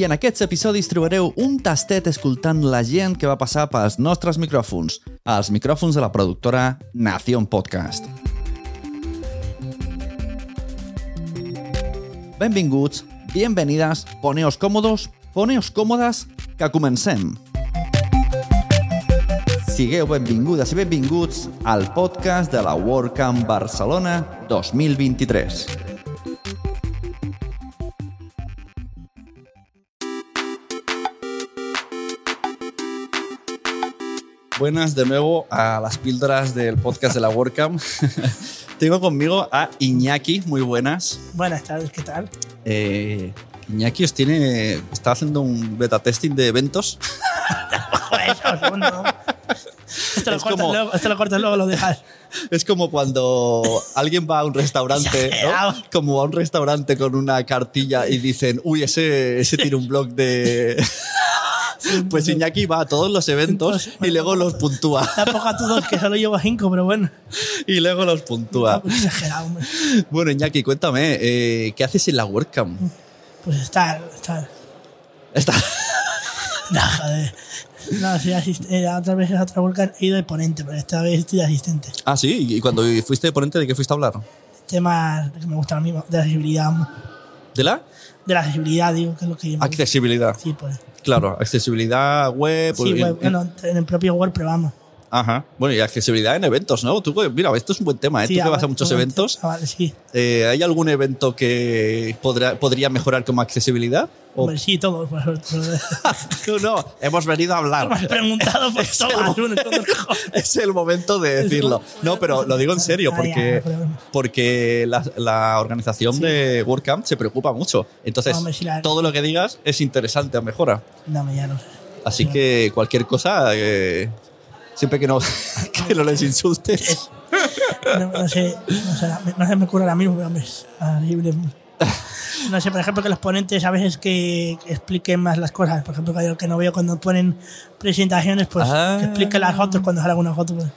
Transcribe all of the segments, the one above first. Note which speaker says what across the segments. Speaker 1: I en aquests episodis trobareu un tastet escoltant la gent que va passar pels nostres micròfons, els micròfons de la productora Nación Podcast. Benvinguts, bienvenides, poneos còmodos, poneos còmodes, que comencem! Sigueu benvingudes i benvinguts al podcast de la WordCamp Barcelona 2023. Buenas de nuevo a las píldoras del podcast de la WordCamp. Tengo conmigo a Iñaki, muy buenas.
Speaker 2: Buenas tardes, ¿qué tal?
Speaker 1: Eh, Iñaki os tiene, está haciendo un beta testing de eventos.
Speaker 2: Joder, un segundo. Esto lo,
Speaker 1: Es
Speaker 2: cortas
Speaker 1: como-
Speaker 2: luego, esto lo cortas luego, lo dejas.
Speaker 1: Es como cuando alguien va a un restaurante, ¿no?
Speaker 2: Exagerado.
Speaker 1: Como va a un restaurante con una cartilla y dicen, uy, ese, ese tiene un blog de... Pues Iñaki va a todos los eventos y luego los puntúa.
Speaker 2: Tampoco a todos, que solo llevo a cinco, pero bueno.
Speaker 1: Y luego los puntúa.
Speaker 2: Tampoco exagerado, hombre.
Speaker 1: Bueno, Iñaki, cuéntame, eh, ¿qué haces en la WordCamp?
Speaker 2: Pues estar, estar.
Speaker 1: Está-
Speaker 2: No, joder. No, soy asistente. Otras veces a otra volca he ido de ponente, pero esta vez estoy de asistente.
Speaker 1: Ah, sí, y cuando fuiste de ponente, ¿de qué fuiste a hablar?
Speaker 2: Temas que me gustan a mí, de la accesibilidad. hombre.
Speaker 1: ¿De la?
Speaker 2: De la accesibilidad, digo, que es lo que yo
Speaker 1: Ah,
Speaker 2: me gusta.
Speaker 1: Accesibilidad.
Speaker 2: Sí, pues.
Speaker 1: Claro, accesibilidad web.
Speaker 2: Sí,
Speaker 1: y-
Speaker 2: bueno, bueno, en el propio Word, pero vamos.
Speaker 1: Ajá. Bueno, y accesibilidad en eventos, ¿no? Tú, pues, mira, esto es un buen tema, ¿eh?
Speaker 2: Sí,
Speaker 1: Tú que vas a
Speaker 2: vale,
Speaker 1: muchos
Speaker 2: vale,
Speaker 1: eventos.
Speaker 2: ah, vale, sí.
Speaker 1: Eh, ¿Hay algún evento que podrá- podría mejorar como accesibilidad? ¿O-
Speaker 2: Hombre, sí, todo. Pues, pues,
Speaker 1: No, no, hemos venido a
Speaker 2: me has
Speaker 1: hablar.
Speaker 2: preguntado, pues toma, uno, todo cojones.
Speaker 1: Es el momento de decirlo. No, pero lo digo en serio,
Speaker 2: Ah,
Speaker 1: porque,
Speaker 2: ya, no hay problema.
Speaker 1: porque la, la organización de WordCamp se preocupa mucho. Entonces,
Speaker 2: Hombre, sí, la-
Speaker 1: todo lo que digas es interesante a mejora.
Speaker 2: Dame ya, no sé.
Speaker 1: Así que cualquier cosa, eh, siempre que no, que no les insultes.
Speaker 2: No, no sé, no sé, no se me ocurre ahora mismo, pero hombre, es horrible. No sé, por ejemplo, que los ponentes a veces que que expliquen más las cosas. Por ejemplo, que yo que no veo cuando ponen presentaciones, pues
Speaker 1: Ah.
Speaker 2: que expliquen las fotos cuando hagan una foto. pues.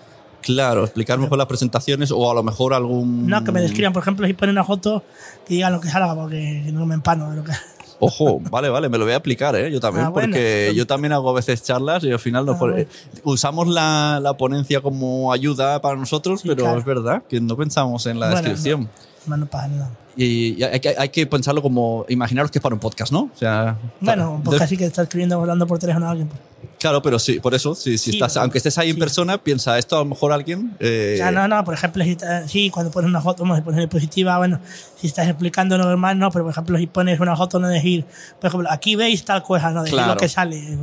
Speaker 1: Claro, explicar mejor las presentaciones o a lo mejor algún...
Speaker 2: No, que me describan, por ejemplo, si ponen una foto, que digan lo que salga, porque no me empano de lo que.
Speaker 1: Ojo, vale, vale, me lo voy a aplicar, ¿eh? Yo también,
Speaker 2: Ah, bueno.
Speaker 1: porque yo también hago a veces charlas y al final nos
Speaker 2: Ah,
Speaker 1: pon-
Speaker 2: bueno.
Speaker 1: eh, usamos la, la ponencia como ayuda para nosotros,
Speaker 2: Sí,
Speaker 1: pero
Speaker 2: claro.
Speaker 1: es verdad que no pensamos en la
Speaker 2: Bueno,
Speaker 1: descripción.
Speaker 2: No, no pasa nada.
Speaker 1: Y y hay que, hay que pensarlo como, imaginaros que es para un podcast, ¿no? O sea,
Speaker 2: Bueno, un poco así que está escribiendo hablando por teléfono a alguien. pues.
Speaker 1: Claro, pero sí, por eso, si, si
Speaker 2: Sí,
Speaker 1: estás,
Speaker 2: pero-
Speaker 1: aunque estés ahí en
Speaker 2: sí.
Speaker 1: persona, piensa, esto a lo mejor alguien... eh,
Speaker 2: Ya, no, no, por ejemplo, si, ta- sí, cuando pones una foto, vamos a poner positiva, bueno, si estás explicando lo normal, no, pero por ejemplo, si pones una foto, no decir, por ejemplo, aquí veis tal cosa, no decir
Speaker 1: Claro.
Speaker 2: lo que sale.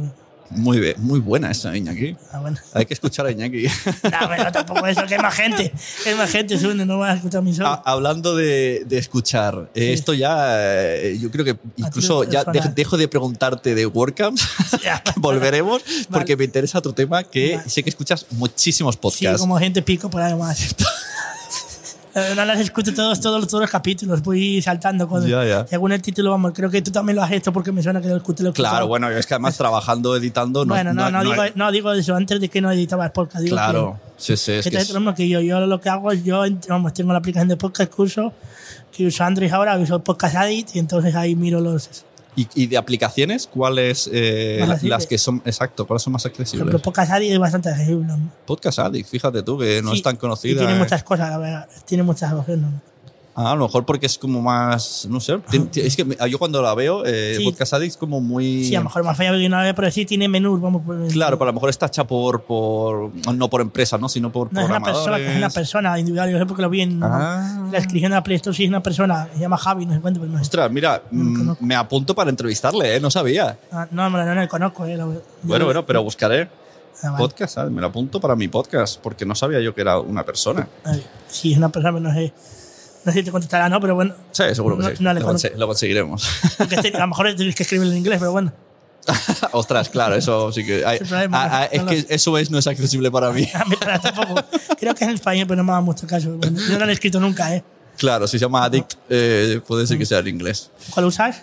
Speaker 1: Muy bien, muy buena esa Iñaki.
Speaker 2: Ah, bueno.
Speaker 1: Hay que escuchar a Iñaki.
Speaker 2: No, bueno, tampoco eso, que hay más gente, que hay más gente, Sune, no vas a escuchar mi solo.
Speaker 1: Ah, hablando de, de escuchar, eh,
Speaker 2: Sí.
Speaker 1: esto ya, eh, yo creo que incluso
Speaker 2: título
Speaker 1: ya
Speaker 2: personal.
Speaker 1: dej- dejo de preguntarte de WordCamp, Ah,
Speaker 2: Ya.
Speaker 1: volveremos, porque
Speaker 2: Vale.
Speaker 1: me interesa otro tema que
Speaker 2: Vale.
Speaker 1: sé que escuchas muchísimos
Speaker 2: Sí,
Speaker 1: podcasts.
Speaker 2: como gente pico por ahí más. Eh, No las escucho todos, todos, todos los capítulos, voy saltando. Cuando,
Speaker 1: Ya, ya.
Speaker 2: Según el título, vamos, creo que tú también lo has hecho porque me suena que lo escuché. Lo he
Speaker 1: claro,
Speaker 2: escuchado.
Speaker 1: bueno, es que además trabajando, editando, no,
Speaker 2: Bueno, no, no,
Speaker 1: no-
Speaker 2: digo, no digo eso, antes de que no editaba el podcast. Digo que-
Speaker 1: claro, sí, sí, es
Speaker 2: que
Speaker 1: que
Speaker 2: te-
Speaker 1: es-
Speaker 2: lo mismo que yo. Yo lo que hago es, yo ent- vamos, tengo la aplicación de podcast que uso, que uso Android ahora, uso Podcast Addict, y entonces ahí miro los.
Speaker 1: y, y de aplicaciones, ¿cuáles eh,
Speaker 2: Más
Speaker 1: la-
Speaker 2: accesibles.
Speaker 1: las que son, exacto, cuáles son más
Speaker 2: Por ejemplo,
Speaker 1: accesibles?
Speaker 2: Podcast Addict es bastante accesible. ¿no?
Speaker 1: Podcast Addict, fíjate tú, que no
Speaker 2: Sí,
Speaker 1: es tan
Speaker 2: Y
Speaker 1: conocida.
Speaker 2: tiene
Speaker 1: eh.
Speaker 2: muchas cosas, la verdad. Tiene muchas opciones. ¿no?
Speaker 1: Ah, a lo mejor porque es como más, no sé, ti- ti- es que me- yo cuando la veo, eh,
Speaker 2: Sí.
Speaker 1: Podcast Addict es como muy...
Speaker 2: Sí, a lo mejor más fallado que una vez, pero sí tiene menús. Vamos, pues,
Speaker 1: Claro, pero a lo mejor está hecha por, por no por empresa, ¿no? sino por
Speaker 2: No es una persona, es una persona individual. Yo sé porque lo vi en
Speaker 1: Ah.
Speaker 2: en la descripción de la Play Store. Sí, es una persona, se llama Javi, no sé cuánto, pero no es.
Speaker 1: Ostras, mira,
Speaker 2: No lo
Speaker 1: mm,
Speaker 2: conozco.
Speaker 1: me apunto para entrevistarle, ¿eh? No sabía.
Speaker 2: Ah, No, no, no, lo conozco. eh, lo-
Speaker 1: Bueno, bueno, pero buscaré
Speaker 2: Ah, vale.
Speaker 1: podcast, ¿sabes? Me lo apunto para mi podcast, porque no sabía yo que era una persona.
Speaker 2: Ay, Sí, es una persona, pero no sé. No sé si te contestará, no, pero bueno.
Speaker 1: Sí, seguro que
Speaker 2: No-
Speaker 1: sí.
Speaker 2: no le
Speaker 1: lo,
Speaker 2: conozco.
Speaker 1: conse- lo conseguiremos.
Speaker 2: Porque este- a lo mejor tienes que escribirlo en inglés, pero bueno.
Speaker 1: Ostras, claro, eso sí que. hay-
Speaker 2: Sí, pero hay
Speaker 1: ah,
Speaker 2: más
Speaker 1: ah, es que eso es, no es accesible para mí.
Speaker 2: A mí para tampoco. Creo que es en español, pero no me hagan mucho caso. Bueno, yo no lo he escrito nunca, ¿eh?
Speaker 1: Claro, si se llama Addict, eh, puede ser que sea en inglés.
Speaker 2: ¿Cuál usas?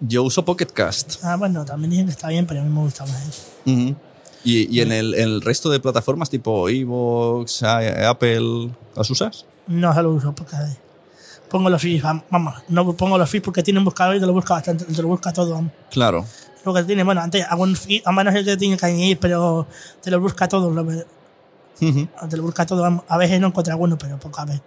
Speaker 1: Yo uso Pocket Cast.
Speaker 2: Ah, bueno, también dicen que está bien, pero a mí me gusta más. eso.
Speaker 1: Ujú. Y, y en, el, en el resto de plataformas tipo Evox, Apple, ¿las usas?
Speaker 2: No solo uso porque eh, pongo los feeds, vam- vamos, no pongo los feeds porque tiene un buscador y te lo busca bastante, te lo busca todo. vamos.
Speaker 1: Claro.
Speaker 2: Lo que tiene, bueno, antes algún feed, a no sé qué tiene que añadir, pero te lo busca todo, lo que- ah,
Speaker 1: Ujú.
Speaker 2: te lo busca todo. vamos. A veces no encuentra alguno, pero pocas veces.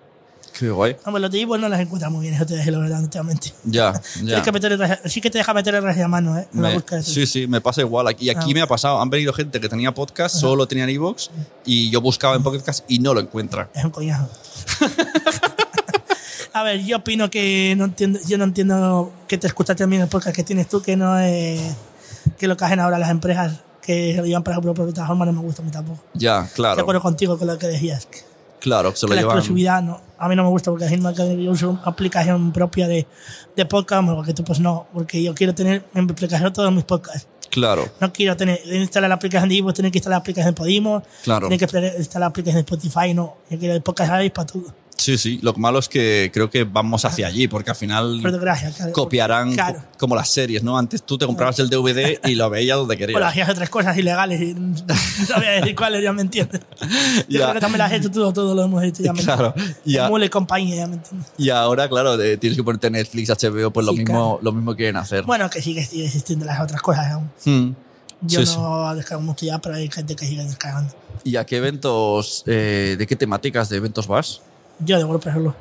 Speaker 1: Qué guay.
Speaker 2: Hombre, los de Ivo no las encuentra muy bien, eso te dejo, la verdad, no te voy a mentir.
Speaker 1: Ya,
Speaker 2: Tienes
Speaker 1: ya.
Speaker 2: que meter el- sí que te deja meter el resto de mano, ¿eh? En la
Speaker 1: Me-
Speaker 2: búsqueda.
Speaker 1: sí, sí, me pasa igual. Aquí- Y aquí
Speaker 2: Ah.
Speaker 1: me ha pasado. Han venido gente que tenía podcast, solo tenían Evox, y yo buscaba en Pocket Cast y no lo encuentra.
Speaker 2: Es un coñazo. A ver, yo opino que no entiendo, yo no entiendo que te escuchas también el podcast que tienes tú, que no es que lo que hacen ahora las empresas que se lo llevan para ejemplo por plataforma no me gusta a mí tampoco.
Speaker 1: Ya,
Speaker 2: De acuerdo
Speaker 1: claro.
Speaker 2: contigo con lo que decías. Que
Speaker 1: Claro, se lo
Speaker 2: la
Speaker 1: llevan.
Speaker 2: exclusividad no, a mí no me gusta porque es que yo uso una aplicación propia de, de podcast, porque tú pues no, porque yo quiero tener en mi aplicación todos mis podcasts.
Speaker 1: Claro,
Speaker 2: No quiero tener, instalar la aplicación de Ivo, tener que instalar la aplicación de Podimo,
Speaker 1: claro.
Speaker 2: tener que instalar la aplicación de Spotify, no. Yo quiero el podcast, ¿sabéis? Para todo.
Speaker 1: Sí, sí. Lo malo es que creo que vamos hacia allí, porque al
Speaker 2: Por
Speaker 1: final
Speaker 2: desgracia, claro.
Speaker 1: copiarán
Speaker 2: Claro.
Speaker 1: co- como las series, ¿no? Antes tú te comprabas el DVD y lo veías donde
Speaker 2: Bueno,
Speaker 1: querías.
Speaker 2: hacías otras cosas ilegales y no voy a decir cuáles, ya me entiendes.
Speaker 1: Ya.
Speaker 2: Yo creo que también las has hecho todo, todo lo hemos hecho, ya me
Speaker 1: Claro. Y, a-
Speaker 2: entiendes. Mule y compañía, ya me entiendes.
Speaker 1: y ahora, claro, de- tienes que ponerte Netflix, HBO, pues lo
Speaker 2: Sí,
Speaker 1: mismo, lo mismo quieren hacer.
Speaker 2: Bueno, que sigue, sigue existiendo las otras cosas aún.
Speaker 1: Hmm.
Speaker 2: Yo
Speaker 1: Sí,
Speaker 2: no descargo mucho ya, pero hay gente que sigue descargando.
Speaker 1: ¿Y a qué eventos, eh, de qué temáticas de eventos vas?
Speaker 2: Yo de golpe solo.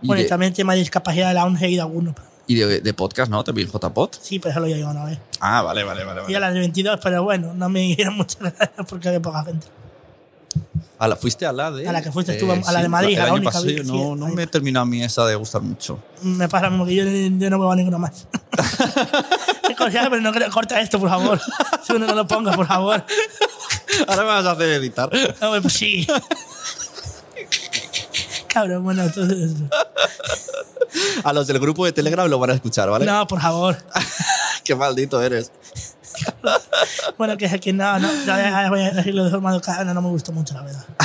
Speaker 1: Y
Speaker 2: Bueno, y
Speaker 1: de-
Speaker 2: también el tema de discapacidad de la ONG he ido a alguno. pero-
Speaker 1: Y de, de podcast, ¿no? También JPod.
Speaker 2: Sí, pero solo yo iba una vez.
Speaker 1: Ah, vale, vale, vale.
Speaker 2: Y a
Speaker 1: vale.
Speaker 2: las de 22, pero bueno, no me dieron muchas gracias porque había poca gente.
Speaker 1: A la, fuiste a la de. eh,
Speaker 2: A la que fuiste tú, a la de Madrid,
Speaker 1: el
Speaker 2: a la
Speaker 1: año
Speaker 2: única
Speaker 1: pasado,
Speaker 2: vez que fui,
Speaker 1: no, no
Speaker 2: ahí.
Speaker 1: me terminó a mí esa de gustar mucho.
Speaker 2: Me pasa lo mismo que yo, yo no vuelvo a ninguno más. Es cordial, pero no creo- corta esto, por favor. Si uno no lo ponga, por favor.
Speaker 1: Ahora me vas a hacer editar.
Speaker 2: No, pues sí. Cabrón, bueno, entonces.
Speaker 1: A los del grupo de Telegram lo van a escuchar, ¿vale?
Speaker 2: No, por favor.
Speaker 1: Qué maldito eres.
Speaker 2: Bueno, que es que no, no. Ya, ya voy a decirlo de forma educada, no, no me gustó mucho, la verdad. Ah,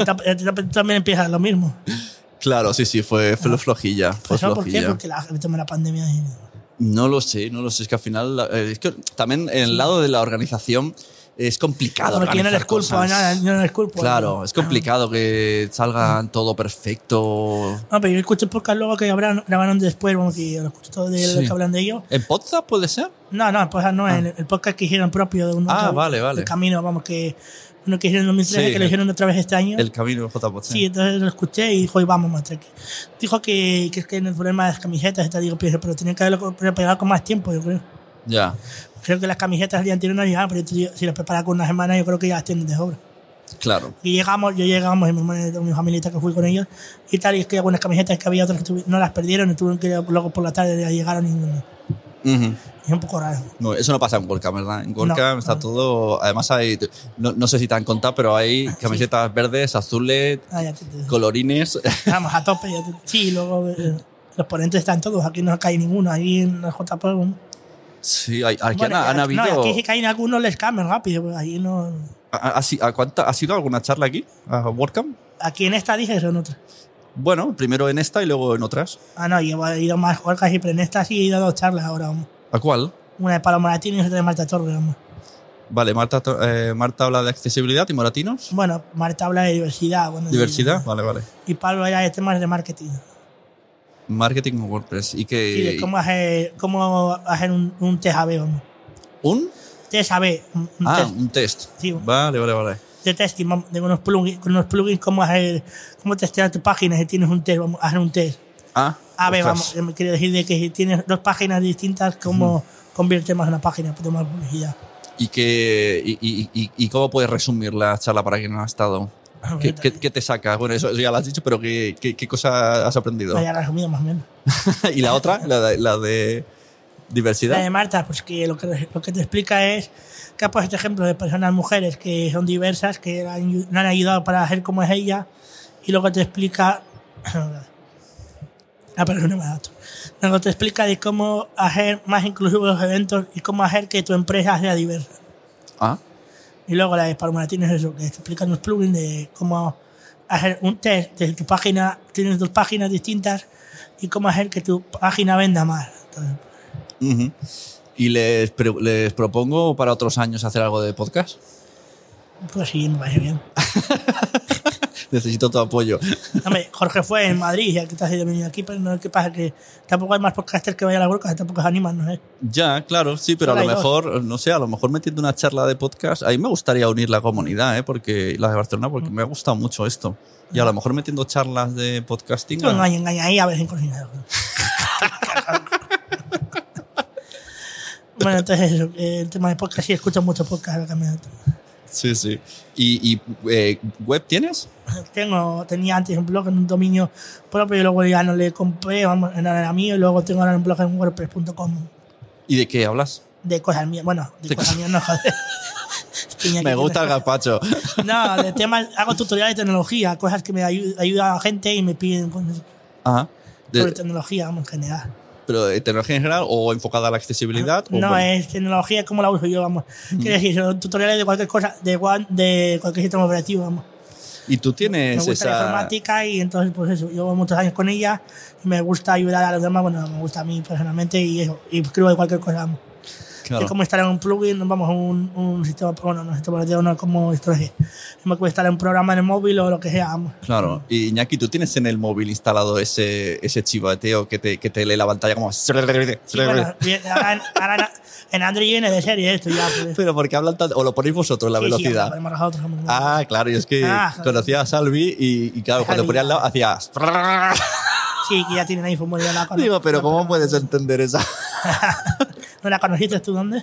Speaker 2: tam- eh, tam- También empieza lo mismo.
Speaker 1: Pues Claro, sí, sí, fue, fue flojilla. Fue
Speaker 2: ¿Eso Pues por qué?
Speaker 1: flojilla.
Speaker 2: Porque la gente la pandemia. y-
Speaker 1: No lo sé, no lo sé. Es que al final. eh, es que también el lado de la organización es complicado.
Speaker 2: Porque yo no
Speaker 1: organizar
Speaker 2: les culpo,
Speaker 1: cosas.
Speaker 2: nada, yo no les culpo.
Speaker 1: Claro, es complicado que salga todo perfecto.
Speaker 2: No, Ah, pero yo escuché el podcast luego que habrán- grabaron después, como que lo escuché todo de lo
Speaker 1: Sí.
Speaker 2: que hablan de ellos.
Speaker 1: ¿En Podzap puede ser?
Speaker 2: No, no, pues no, el, el podcast que hicieron propio de un
Speaker 1: Ah,
Speaker 2: otro-
Speaker 1: vale, vale.
Speaker 2: El camino, vamos, que uno que hicieron en 2013,
Speaker 1: Sí,
Speaker 2: que lo hicieron otra vez este año.
Speaker 1: El camino de JPOT.
Speaker 2: sí, entonces lo escuché y dijo, "Y vamos, maestro. que- Dijo que, que es que el problema de las camisetas, y tal, digo, pero, pero tenían que haberlo co- preparado con más tiempo, yo creo.
Speaker 1: Ya.
Speaker 2: Creo que las camisetas del día anterior no llegaban, pero yo- si las preparas con una semana, yo creo que ya las tienen de sobra.
Speaker 1: Claro.
Speaker 2: Y llegamos, yo llegamos, y mi, hermana- mi familita que fui con ellos, y tal, y es que algunas camisetas que había otras que tuvi- no las perdieron, y tuvieron que luego por la tarde ya llegaron y
Speaker 1: Ujú.
Speaker 2: es un poco raro.
Speaker 1: No, eso no pasa en Golcam, ¿verdad? En Golcam
Speaker 2: No,
Speaker 1: está
Speaker 2: no.
Speaker 1: todo. Además, hay. No, no sé si te han contado, pero hay camisetas verdes, azules,
Speaker 2: Ah, ya te- te-
Speaker 1: colorines.
Speaker 2: Vamos a tope. ya te- Sí, luego eh, los ponentes están todos. Aquí no cae ninguno. Ahí en la JP. Bueno,
Speaker 1: Sí, hay- aquí han,
Speaker 2: y
Speaker 1: han
Speaker 2: aquí- no,
Speaker 1: habido.
Speaker 2: aquí si caen algunos les cambian rápido. pero Ahí no.
Speaker 1: ¿Ha, ha si- a cuánta- ¿Ha sido alguna charla aquí? ¿A WordCamp?
Speaker 2: Aquí en esta dije son otros.
Speaker 1: Bueno, primero en esta y luego en otras.
Speaker 2: Ah, no, yo he ido más orcas y pero en esta sí he ido a dos charlas ahora. vamos.
Speaker 1: ¿A cuál?
Speaker 2: Una de Paloma Latino y otra de Marta Torres. vamos.
Speaker 1: Vale, Marta, to- eh, Marta habla de accesibilidad y moratinos.
Speaker 2: Bueno, Marta habla de diversidad. Bueno,
Speaker 1: Diversidad,
Speaker 2: Y,
Speaker 1: vale, vale.
Speaker 2: y Pablo habla de temas de marketing.
Speaker 1: Marketing en WordPress. ¿Y que
Speaker 2: Sí, de cómo hacer, cómo hacer un, un TSAB. Vamos.
Speaker 1: ¿Un?
Speaker 2: TSAB. Un, un
Speaker 1: ah,
Speaker 2: test
Speaker 1: un test.
Speaker 2: Sí.
Speaker 1: Vale, vale, vale.
Speaker 2: de testing, vamos, de unos plugins, con unos plugins cómo hacer, cómo testear tu página si tienes un test, vamos a hacer un test.
Speaker 1: Ah,
Speaker 2: A ver,
Speaker 1: ostras.
Speaker 2: vamos, me quiero decir de que si tienes dos páginas distintas, cómo convierte más una página para tomar publicidad.
Speaker 1: ¿Y, que, y, y- y- y cómo puedes resumir la charla para quien no ha estado? ¿Qué, qué- qué te saca? Bueno, eso, eso ya lo has dicho, pero ¿qué, qué, qué cosa has aprendido?
Speaker 2: Vaya resumido más o menos.
Speaker 1: ¿Y la otra? ¿La de, la de
Speaker 2: La
Speaker 1: diversidad?
Speaker 2: de Marta, pues que lo que, lo que te explica es que ha puesto este ejemplo de personas, mujeres que son diversas, que la han, ayu- la han ayudado para hacer como es ella, y luego te explica No, pero eso ah, no es barato. Luego te explica de cómo hacer más inclusivos los eventos y cómo hacer que tu empresa sea diversa.
Speaker 1: Ah,
Speaker 2: Y luego la de Palmaratino es eso, que te explican los plugins de cómo hacer un test de tu página, tienes dos páginas distintas y cómo hacer que tu página venda más. Entonces,
Speaker 1: ujú. ¿Y les, pre- les propongo para otros años hacer algo de podcast?
Speaker 2: pues sí, me parece bien.
Speaker 1: Necesito tu apoyo.
Speaker 2: Hombre, Jorge fue en Madrid, ya que te has ido venido aquí, pero no es que pasa que tampoco hay más podcasters que vayan a la broca, tampoco se animan, no ¿Eh? sé.
Speaker 1: Ya, claro, sí, pero a
Speaker 2: Solo
Speaker 1: lo
Speaker 2: hay dos.
Speaker 1: mejor, no sé, a lo mejor metiendo una charla de podcast, ahí me gustaría unir la comunidad, ¿eh? Porque la de Barcelona,
Speaker 2: Mm.
Speaker 1: porque me ha gustado mucho esto. Y a lo mejor metiendo charlas de podcasting.
Speaker 2: Tú
Speaker 1: a-
Speaker 2: engaña, engaña ahí a ver si consigue algo. Bueno, entonces eso, eh, el tema de podcast, sí escucho mucho podcast. ahora también.
Speaker 1: Sí, sí. ¿Y, y, eh, web tienes?
Speaker 2: Tengo, tenía antes un blog en un dominio propio y luego ya no le compré, vamos, no era mío, y luego tengo ahora un blog en wordpress.com
Speaker 1: ¿Y de qué hablas?
Speaker 2: de cosas mías, bueno, de
Speaker 1: De
Speaker 2: cosas
Speaker 1: cosas-
Speaker 2: mías no, joder. Tenía
Speaker 1: Me
Speaker 2: que
Speaker 1: gusta el
Speaker 2: tener-
Speaker 1: gazpacho.
Speaker 2: No, de temas, hago tutoriales de tecnología, cosas que me ayu- ayudan a gente y me piden cosas
Speaker 1: Ajá. Ah, De-
Speaker 2: sobre tecnología vamos, en general.
Speaker 1: ¿Pero de tecnología en general o enfocada a la accesibilidad? o
Speaker 2: No,
Speaker 1: bueno,
Speaker 2: es tecnología como la uso yo, vamos. Quiero decir, son tutoriales de cualquier cosa, de, guan- de cualquier sistema operativo, vamos.
Speaker 1: ¿Y tú
Speaker 2: Me
Speaker 1: tienes
Speaker 2: gusta la
Speaker 1: esa...?
Speaker 2: informática y entonces, pues eso, llevo muchos años con ella y me gusta ayudar a los demás, bueno, me gusta a mí personalmente y eso, y escribo de cualquier cosa, vamos.
Speaker 1: Claro.
Speaker 2: Es como instalar un plugin, vamos, un, un sistema, bueno, no sistema operativo, no como esto es, me puede instalar un programa en el móvil o lo que sea, vamos.
Speaker 1: Claro, y Iñaki, ¿tú tienes en el móvil instalado ese, ese chivateo que te, que te lee la pantalla como...
Speaker 2: Sí, bueno, bien, ahora en, ahora en- en Android viene de serie esto ya. Pues,
Speaker 1: Pero porque hablan tanto... ¿O lo ponéis vosotros la
Speaker 2: Sí, sí,
Speaker 1: velocidad?
Speaker 2: lo ponemos nosotros, vamos.
Speaker 1: ah, claro, yo es que
Speaker 2: Ah, joder.
Speaker 1: conocía a Salvi y, y claro, cuando
Speaker 2: Salvi.
Speaker 1: ponía al lado hacía...
Speaker 2: Sí, que ya tienen iPhone muy bien. la cono-
Speaker 1: Digo, pero
Speaker 2: la
Speaker 1: ¿cómo
Speaker 2: cono-
Speaker 1: puedes entender esa...?
Speaker 2: ¿No la conociste tú dónde?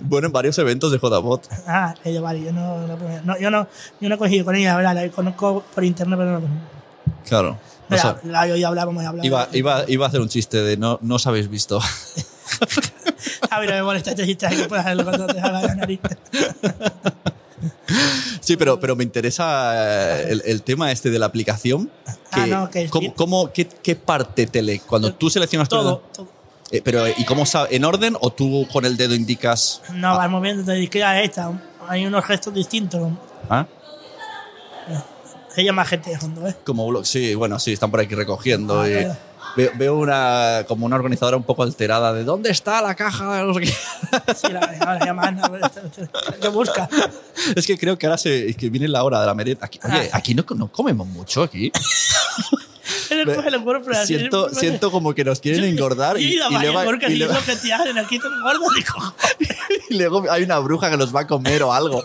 Speaker 1: Bueno, en varios eventos de JBot.
Speaker 2: Ah, ella, vale, yo no, la primera- no, yo no, yo no he coincidido con ella, la verdad, la conozco por internet, pero no la conozco.
Speaker 1: Claro. no
Speaker 2: Mira,
Speaker 1: sab-
Speaker 2: la he oído hablar, vamos a hablar.
Speaker 1: iba, iba, iba a hacer un chiste de no, no os habéis visto.
Speaker 2: A mí no me molesta este chiste, así que puedes hacerlo cuando te salga de la nariz.
Speaker 1: Sí, pero, pero me interesa eh, el, el tema este de la aplicación.
Speaker 2: Ah, no, que-
Speaker 1: ¿cómo, cómo- qué, qué parte te lee? Cuando tú seleccionas tu-
Speaker 2: Todo, todo.
Speaker 1: Eh, pero, eh, ¿y cómo sa- ¿En orden o tú con el dedo indicas?
Speaker 2: No, vas moviendo de izquierda a esta. Hay unos gestos distintos.
Speaker 1: ¿Ah?
Speaker 2: Se llama gente de fondo, ¿eh?
Speaker 1: Como blog. Sí, bueno, sí, están por aquí recogiendo.
Speaker 2: Ah,
Speaker 1: y
Speaker 2: claro.
Speaker 1: ve- Veo una, como una organizadora un poco alterada de ¿dónde está la caja? No sé qué.
Speaker 2: Sí, la, ahora se llama Ana. pero esto- esto- ¿Qué busca?
Speaker 1: Es que creo que ahora se, es que viene la hora de la merienda. Aquí, oye,
Speaker 2: Ah.
Speaker 1: aquí no, no comemos mucho aquí.
Speaker 2: Él
Speaker 1: Me-
Speaker 2: coge los cuerpos así,
Speaker 1: siento,
Speaker 2: él-
Speaker 1: siento como que nos quieren engordar
Speaker 2: Yo he
Speaker 1: y,
Speaker 2: ido a
Speaker 1: y
Speaker 2: varias
Speaker 1: luego,
Speaker 2: porque
Speaker 1: y
Speaker 2: si es
Speaker 1: luego-
Speaker 2: lo que te hacen aquí te engordo, digo.
Speaker 1: y luego hay una bruja que nos va a comer o algo.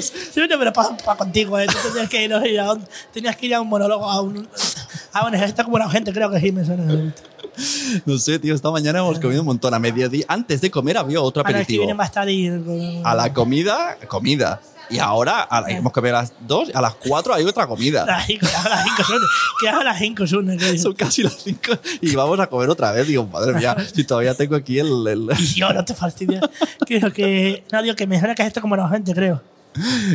Speaker 2: Sí, no, pero para contigo, ¿eh? Tú tenías que, ir, no sé, a un, tenías que ir a un monólogo, a un... Ah, bueno, está como la gente, creo que sí, me suena. Ah, que lo he visto.
Speaker 1: No sé, tío, esta mañana hemos comido un montón. A mediodía, antes de comer había otro
Speaker 2: Ah, no, Ah. es que
Speaker 1: aperitivo.
Speaker 2: viene más tarde y...
Speaker 1: A la comida, comida. Y ahora, a la- hemos comido a las 2, a las 4 hay otra
Speaker 2: A
Speaker 1: comida.
Speaker 2: las 5, a las 5 son. Que a las 5 son. que-
Speaker 1: Son casi las 5 y vamos a comer otra vez. Digo, madre mía, si todavía tengo aquí el... el-
Speaker 2: Y yo, no te fastidies. Creo que... No, digo que me suena que es esto como la gente, creo.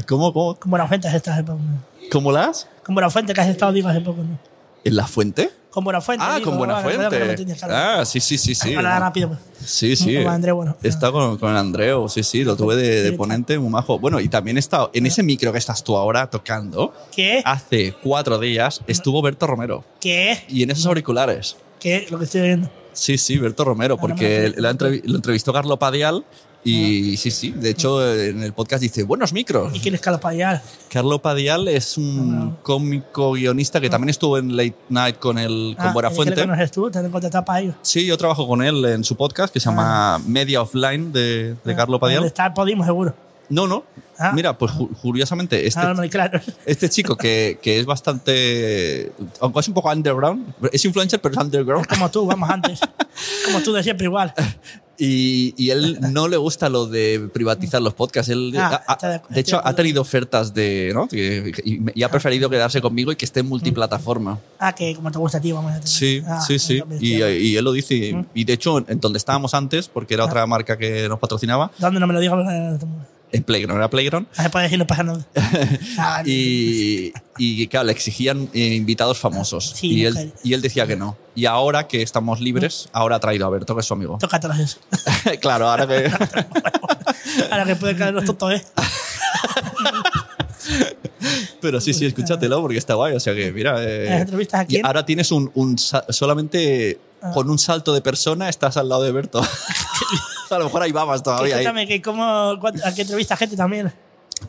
Speaker 1: ¿Cómo, cómo,
Speaker 2: Como la gente es esta hace poco. ¿no?
Speaker 1: cómo las?
Speaker 2: Como la fuente que has estado, digo, hace poco, ¿no?
Speaker 1: ¿En la fuente?
Speaker 2: Con buena fuente.
Speaker 1: Ah,
Speaker 2: digo,
Speaker 1: con buena
Speaker 2: bueno, creo que no me
Speaker 1: fuente.
Speaker 2: entiendes, claro.
Speaker 1: Ah, sí, sí, sí, sí.
Speaker 2: Ahora rápido. pues.
Speaker 1: Sí, sí.
Speaker 2: Como Andreu, bueno.
Speaker 1: Está con, con Andreu, sí, sí, lo tuve de, de ponente, muy majo. Bueno, y también está en ese micro que estás tú ahora tocando,
Speaker 2: ¿Qué?
Speaker 1: hace cuatro días estuvo Berto Romero.
Speaker 2: ¿Qué?
Speaker 1: Y en esos auriculares.
Speaker 2: ¿Qué? Lo que estoy viendo.
Speaker 1: Sí, sí, Berto Romero,
Speaker 2: Ahora
Speaker 1: porque
Speaker 2: me lo-
Speaker 1: la entrevi- lo entrevistó Carlo Padial
Speaker 2: Ah.
Speaker 1: y sí, sí, de hecho en el podcast dice buenos micros.
Speaker 2: ¿Y quién es Carlos Padial?
Speaker 1: Carlo Padial es un
Speaker 2: Bueno.
Speaker 1: cómico guionista que también estuvo en Late Night con el con
Speaker 2: Ah, ¿y
Speaker 1: Buenafuente.
Speaker 2: quién le conoces tú? Te han contratado para ellos.
Speaker 1: Sí, yo trabajo con él en su podcast que se llama
Speaker 2: Ah.
Speaker 1: Media Offline de, de Carlo
Speaker 2: Donde
Speaker 1: Padial.
Speaker 2: está el Podimo, seguro.
Speaker 1: No, no.
Speaker 2: Ah.
Speaker 1: Mira, pues ju- curiosamente, este,
Speaker 2: Ah, no, claro.
Speaker 1: este chico que, que es bastante. Aunque es un poco underground, es influencer, pero es underground.
Speaker 2: Como tú, vamos antes. Como tú de siempre, igual.
Speaker 1: Y, y él no le gusta lo de privatizar los podcasts. Él,
Speaker 2: Ah,
Speaker 1: ha- ha-
Speaker 2: está de acuerdo.
Speaker 1: de hecho, ha tenido ofertas de. ¿no? Que- Y, y ha preferido quedarse conmigo y que esté en multiplataforma.
Speaker 2: Ah, que como te gusta a ti, vamos a
Speaker 1: Sí,
Speaker 2: Ah,
Speaker 1: sí, sí.
Speaker 2: entonces,
Speaker 1: Y,
Speaker 2: tío,
Speaker 1: y él lo dice.
Speaker 2: Ah.
Speaker 1: Y, y de hecho, en donde estábamos antes, porque era otra marca que nos patrocinaba,
Speaker 2: ¿Dónde Eh, no me lo digas?
Speaker 1: Es Playground, era Playground.
Speaker 2: No se puede decir, no pasa nada. Ah,
Speaker 1: Y, y, claro, le exigían eh, invitados famosos.
Speaker 2: Sí,
Speaker 1: y, él,
Speaker 2: mujer.
Speaker 1: y él decía que no. Y ahora que estamos libres, ahora ha traído a Berto, que es su amigo.
Speaker 2: Tócate las eso.
Speaker 1: claro, ahora que.
Speaker 2: Ahora que puede caer los tontos, ¿eh?
Speaker 1: Pero sí, sí, escúchatelo porque está guay. O sea que, mira. eh,
Speaker 2: Las entrevistas aquí.
Speaker 1: y ahora tienes un. un sa- solamente
Speaker 2: Ah.
Speaker 1: con un salto de persona estás al lado de Berto. a lo mejor ahí babas todavía. ahí.
Speaker 2: Cuéntame que cómo, cuánto- a qué entrevista gente también.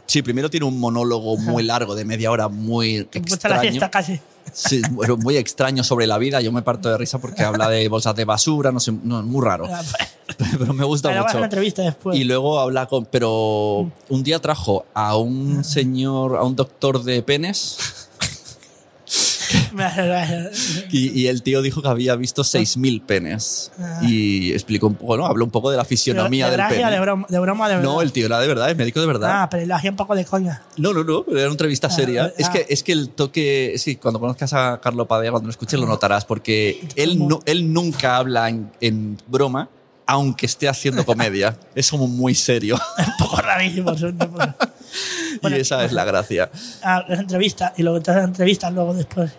Speaker 1: Sí, primero tiene un monólogo muy largo de media hora, muy
Speaker 2: Que cuesta la
Speaker 1: extraño.
Speaker 2: siesta casi.
Speaker 1: Sí, bueno, muy extraño sobre la vida. Yo me parto de risa porque habla de bolsas de basura, no sé, no, muy raro. Pero me gusta
Speaker 2: Ah. Pero vas
Speaker 1: Oh,
Speaker 2: a Mm. una
Speaker 1: mucho.
Speaker 2: entrevista después.
Speaker 1: Y luego habla con. Pero un día trajo a
Speaker 2: Ah.
Speaker 1: un señor, a un doctor de penes, y, y el tío dijo que había visto 6.000 penes.
Speaker 2: Ah.
Speaker 1: Y explicó un poco, ¿no? Habló un poco de la
Speaker 2: Pero
Speaker 1: fisionomía
Speaker 2: de
Speaker 1: del
Speaker 2: gracia, de
Speaker 1: pene.
Speaker 2: broma, de broma, de
Speaker 1: No,
Speaker 2: verdad.
Speaker 1: el tío era de verdad, es médico de verdad.
Speaker 2: Ah, pero lo hacía un poco de coña.
Speaker 1: No, no, no, pero era una entrevista
Speaker 2: Ah,
Speaker 1: seria.
Speaker 2: ah.
Speaker 1: Es, que, es que el toque, sí, cuando conozcas a Carlo Padilla, cuando lo escuches
Speaker 2: Ah.
Speaker 1: lo notarás, porque él, no, él nunca habla en, en broma, aunque esté haciendo comedia. es como muy serio.
Speaker 2: Un poco rarísimo. es un- bueno. Bueno,
Speaker 1: y esa es la gracia.
Speaker 2: Ah, las entrevistas. Y luego entras a las entrevistas luego después.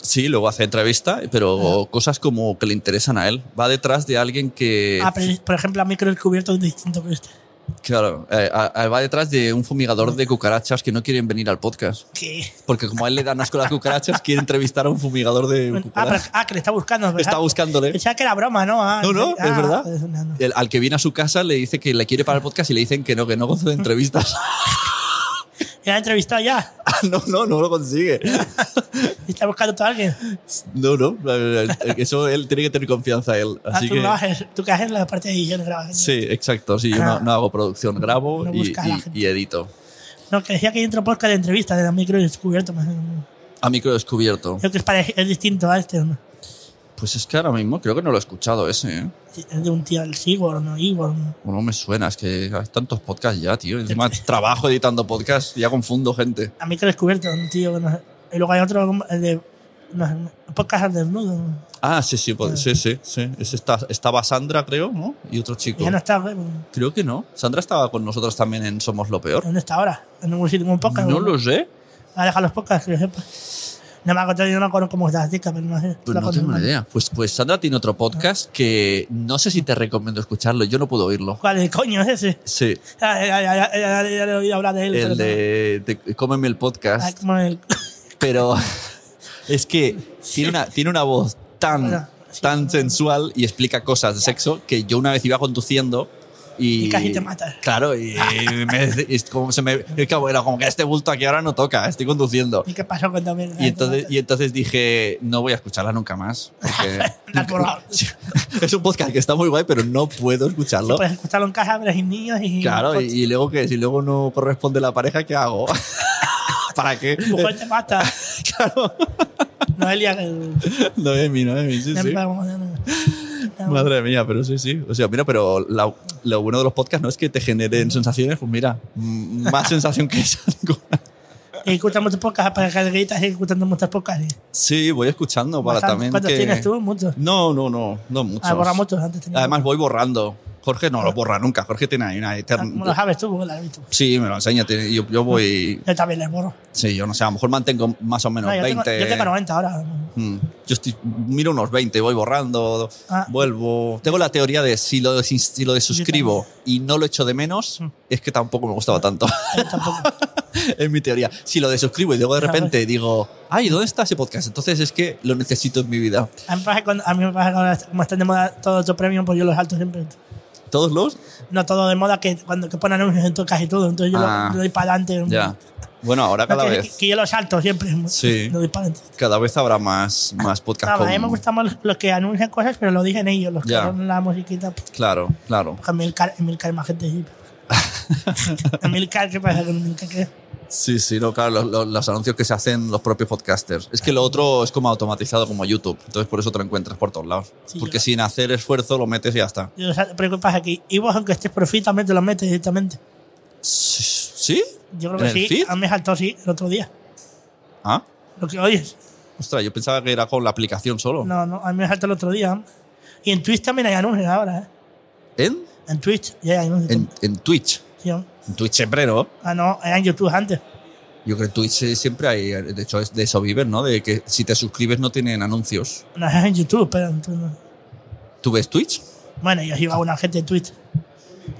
Speaker 1: Sí, luego hace entrevista, pero
Speaker 2: Ah.
Speaker 1: cosas como que le interesan a él. Va detrás de alguien que...
Speaker 2: Ah, pero, por ejemplo, a mí creo que el cubierto es distinto que este.
Speaker 1: Claro, eh, a- a- va detrás de un fumigador de cucarachas que no quieren venir al podcast.
Speaker 2: Que-
Speaker 1: Porque como a él le dan asco las cucarachas, quiere entrevistar a un fumigador de
Speaker 2: Ah, pero-
Speaker 1: cucarachas.
Speaker 2: ah, que le está buscando. ¿verdad?
Speaker 1: Está buscándole.
Speaker 2: Pensaba que era broma, ¿no? Ah,
Speaker 1: No, no,
Speaker 2: ah,
Speaker 1: es verdad.
Speaker 2: joder, no, no.
Speaker 1: El- al que viene a su casa le dice que le quiere para el podcast y le dicen que no, que no gozo de entrevistas.
Speaker 2: Ya ha entrevistado ya.
Speaker 1: no, no, no lo consigue.
Speaker 2: Está buscando a alguien.
Speaker 1: No, no. eh, eh, Eso él tiene que tener confianza él.
Speaker 2: Ah,
Speaker 1: Así
Speaker 2: tú,
Speaker 1: que.
Speaker 2: no haces- tú que haces la parte de edición grabas.
Speaker 1: Sí, exacto. Sí, yo no,
Speaker 2: Ah.
Speaker 1: no hago producción, grabo
Speaker 2: No
Speaker 1: y,
Speaker 2: busca a la
Speaker 1: y-
Speaker 2: gente.
Speaker 1: y edito.
Speaker 2: No, que decía que hay otro podcast de entrevistas de la micro descubierto. más o menos.
Speaker 1: A micro descubierto.
Speaker 2: Creo que es, pare- es distinto a este, ¿o ¿no?
Speaker 1: Pues es que ahora mismo creo que no lo he escuchado ese. ¿eh?
Speaker 2: Sí, Es de un tío, el Sigor, ¿no? Igor. ¿no?
Speaker 1: O no me suena, es que hay tantos podcasts ya, tío. Encima trabajo editando podcasts, ya confundo gente.
Speaker 2: A micro descubierto, un tío. que no sé. Y luego hay otro, el de. No, sé, un podcast al desnudo. ¿no?
Speaker 1: Ah, sí, sí, pod- sí, sí. sí. Ese está, estaba Sandra, creo, ¿no? Y otro chico.
Speaker 2: Ya no está, ¿eh? güey, ¿dónde
Speaker 1: Creo que no. Sandra estaba con nosotros también en Somos lo Peor.
Speaker 2: está ahora? En ningún sitio, en un podcast.
Speaker 1: No
Speaker 2: güey.
Speaker 1: lo sé.
Speaker 2: Ha dejado los podcasts, que yo sepa. No me acuerdo, yo no conozco cómo está la chica, pero no sé.
Speaker 1: Pues
Speaker 2: La
Speaker 1: no tengo
Speaker 2: conozco.
Speaker 1: ni idea. Pues, pues Sandra tiene otro podcast que no sé si te recomiendo escucharlo. Yo no puedo oírlo.
Speaker 2: ¿Cuál el coño es ese?
Speaker 1: Sí,
Speaker 2: Ya, ya, ya, ya, ya, ya, ya le he oído hablar de él. pero
Speaker 1: el
Speaker 2: no.
Speaker 1: de, de Cómeme el
Speaker 2: Ah,
Speaker 1: podcast.
Speaker 2: como el-
Speaker 1: Pero es que tiene una, tiene una voz tan,
Speaker 2: Bueno, sí.
Speaker 1: tan sensual y explica cosas de sexo que yo una vez iba conduciendo. Y,
Speaker 2: Y casi te matas.
Speaker 1: Claro, y, me- es como se me. es como, bueno, como que este bulto aquí ahora no toca, estoy conduciendo.
Speaker 2: ¿Y qué pasó con también?
Speaker 1: Y entonces, y entonces dije, no voy a escucharla nunca más.
Speaker 2: La has borrado.
Speaker 1: porque- es un podcast que está muy guay, pero no puedo escucharlo.
Speaker 2: Puedes escucharlo en casa, pero sin niños y.
Speaker 1: Claro, y, y luego que si luego no corresponde la pareja, ¿qué hago? ¿Para qué?
Speaker 2: Mujer te mata.
Speaker 1: Claro.
Speaker 2: Noelia. que-
Speaker 1: No es mí, no es mí, sí, sí. Madre mía, pero sí, sí. O sea, mira, pero la- lo bueno de los podcasts no es que te generen sensaciones, pues mira, mm, más sensación que esa. ninguna.
Speaker 2: Y escuchas muchos podcasts para carguitas y escuchando muchos podcasts. ¿eh?
Speaker 1: Sí, voy escuchando para
Speaker 2: Bastante.
Speaker 1: también.
Speaker 2: ¿Cuántos
Speaker 1: que-
Speaker 2: tienes tú? Muchos.
Speaker 1: No, no, no, no muchos.
Speaker 2: Ah, borra muchos antes tenía.
Speaker 1: Además, voy borrando. Jorge no lo borra nunca. Jorge tiene ahí una
Speaker 2: Ah, ¿cómo lo
Speaker 1: eterna.
Speaker 2: sabes tú? Porque lo has visto.
Speaker 1: Sí, me lo enseña. tiene- Yo, yo voy.
Speaker 2: Yo también les borro.
Speaker 1: Sí, yo no sé. A lo mejor mantengo más o menos
Speaker 2: No, yo,
Speaker 1: 20.
Speaker 2: tengo, yo tengo 90 ahora.
Speaker 1: Mm, yo estoy, miro unos 20, voy borrando,
Speaker 2: Ah.
Speaker 1: vuelvo. Tengo la teoría de si lo, desin- si lo desuscribo y no lo echo de menos, es que tampoco me gustaba tanto.
Speaker 2: Mm. Yo tampoco.
Speaker 1: es mi teoría. Si lo desuscribo y luego de
Speaker 2: Ah, vale.
Speaker 1: repente digo, ay, ¿dónde está ese podcast? Entonces es que lo necesito en mi vida.
Speaker 2: A mí me pasa cuando, a mí me pasa cuando como están de moda todos los premium, pues yo los salto siempre.
Speaker 1: ¿Todos los?
Speaker 2: No todo de moda que cuando que ponen anuncios en to- casi todo. Entonces yo
Speaker 1: Ah.
Speaker 2: lo, lo doy para adelante.
Speaker 1: Ya. Bueno, ahora cada
Speaker 2: que,
Speaker 1: vez.
Speaker 2: que yo lo salto siempre.
Speaker 1: Sí.
Speaker 2: Lo doy para adelante.
Speaker 1: Cada vez habrá más, más podcasts.
Speaker 2: Claro, a mí me gustan más los, los que anuncian cosas, pero lo dicen ellos, los
Speaker 1: Ya.
Speaker 2: que ponen la musiquita. pues,
Speaker 1: Claro, claro.
Speaker 2: Porque Emilcar, Emilcar es más gente. Sí. Emilcar, ¿qué pasa con Emilcar? ¿Qué?
Speaker 1: Sí, sí, no, claro, los, los- los anuncios que se hacen los propios podcasters. Es que lo otro es como automatizado como YouTube, entonces por eso te lo encuentras por todos lados.
Speaker 2: Sí,
Speaker 1: Porque
Speaker 2: yo-
Speaker 1: sin hacer esfuerzo lo metes y ya está.
Speaker 2: Yo lo salto, pero ¿qué pasa aquí? Y vos, aunque estés por feed, también te lo metes directamente.
Speaker 1: ¿Sí?
Speaker 2: Yo creo
Speaker 1: ¿En
Speaker 2: que
Speaker 1: el
Speaker 2: sí.
Speaker 1: feed?
Speaker 2: A mí me saltó sí el otro día.
Speaker 1: Ah,
Speaker 2: Lo que oyes.
Speaker 1: ostras, yo pensaba que era con la aplicación solo.
Speaker 2: No, no, a mí me saltó el otro día. Y en Twitch también hay anuncios ahora, ¿eh?
Speaker 1: ¿En?
Speaker 2: En Twitch ya hay anuncios.
Speaker 1: en, en Twitch.
Speaker 2: Sí, hombre.
Speaker 1: En Twitch siempre, ¿no?
Speaker 2: Ah, no, era en YouTube antes.
Speaker 1: Yo creo que en Twitch eh, siempre hay, de hecho, es de eso viven, ¿no? De que si te suscribes no tienen anuncios.
Speaker 2: No, era en YouTube, pero tú no.
Speaker 1: ¿Tú ves Twitch?
Speaker 2: Bueno, yo sigo a una gente en Twitch.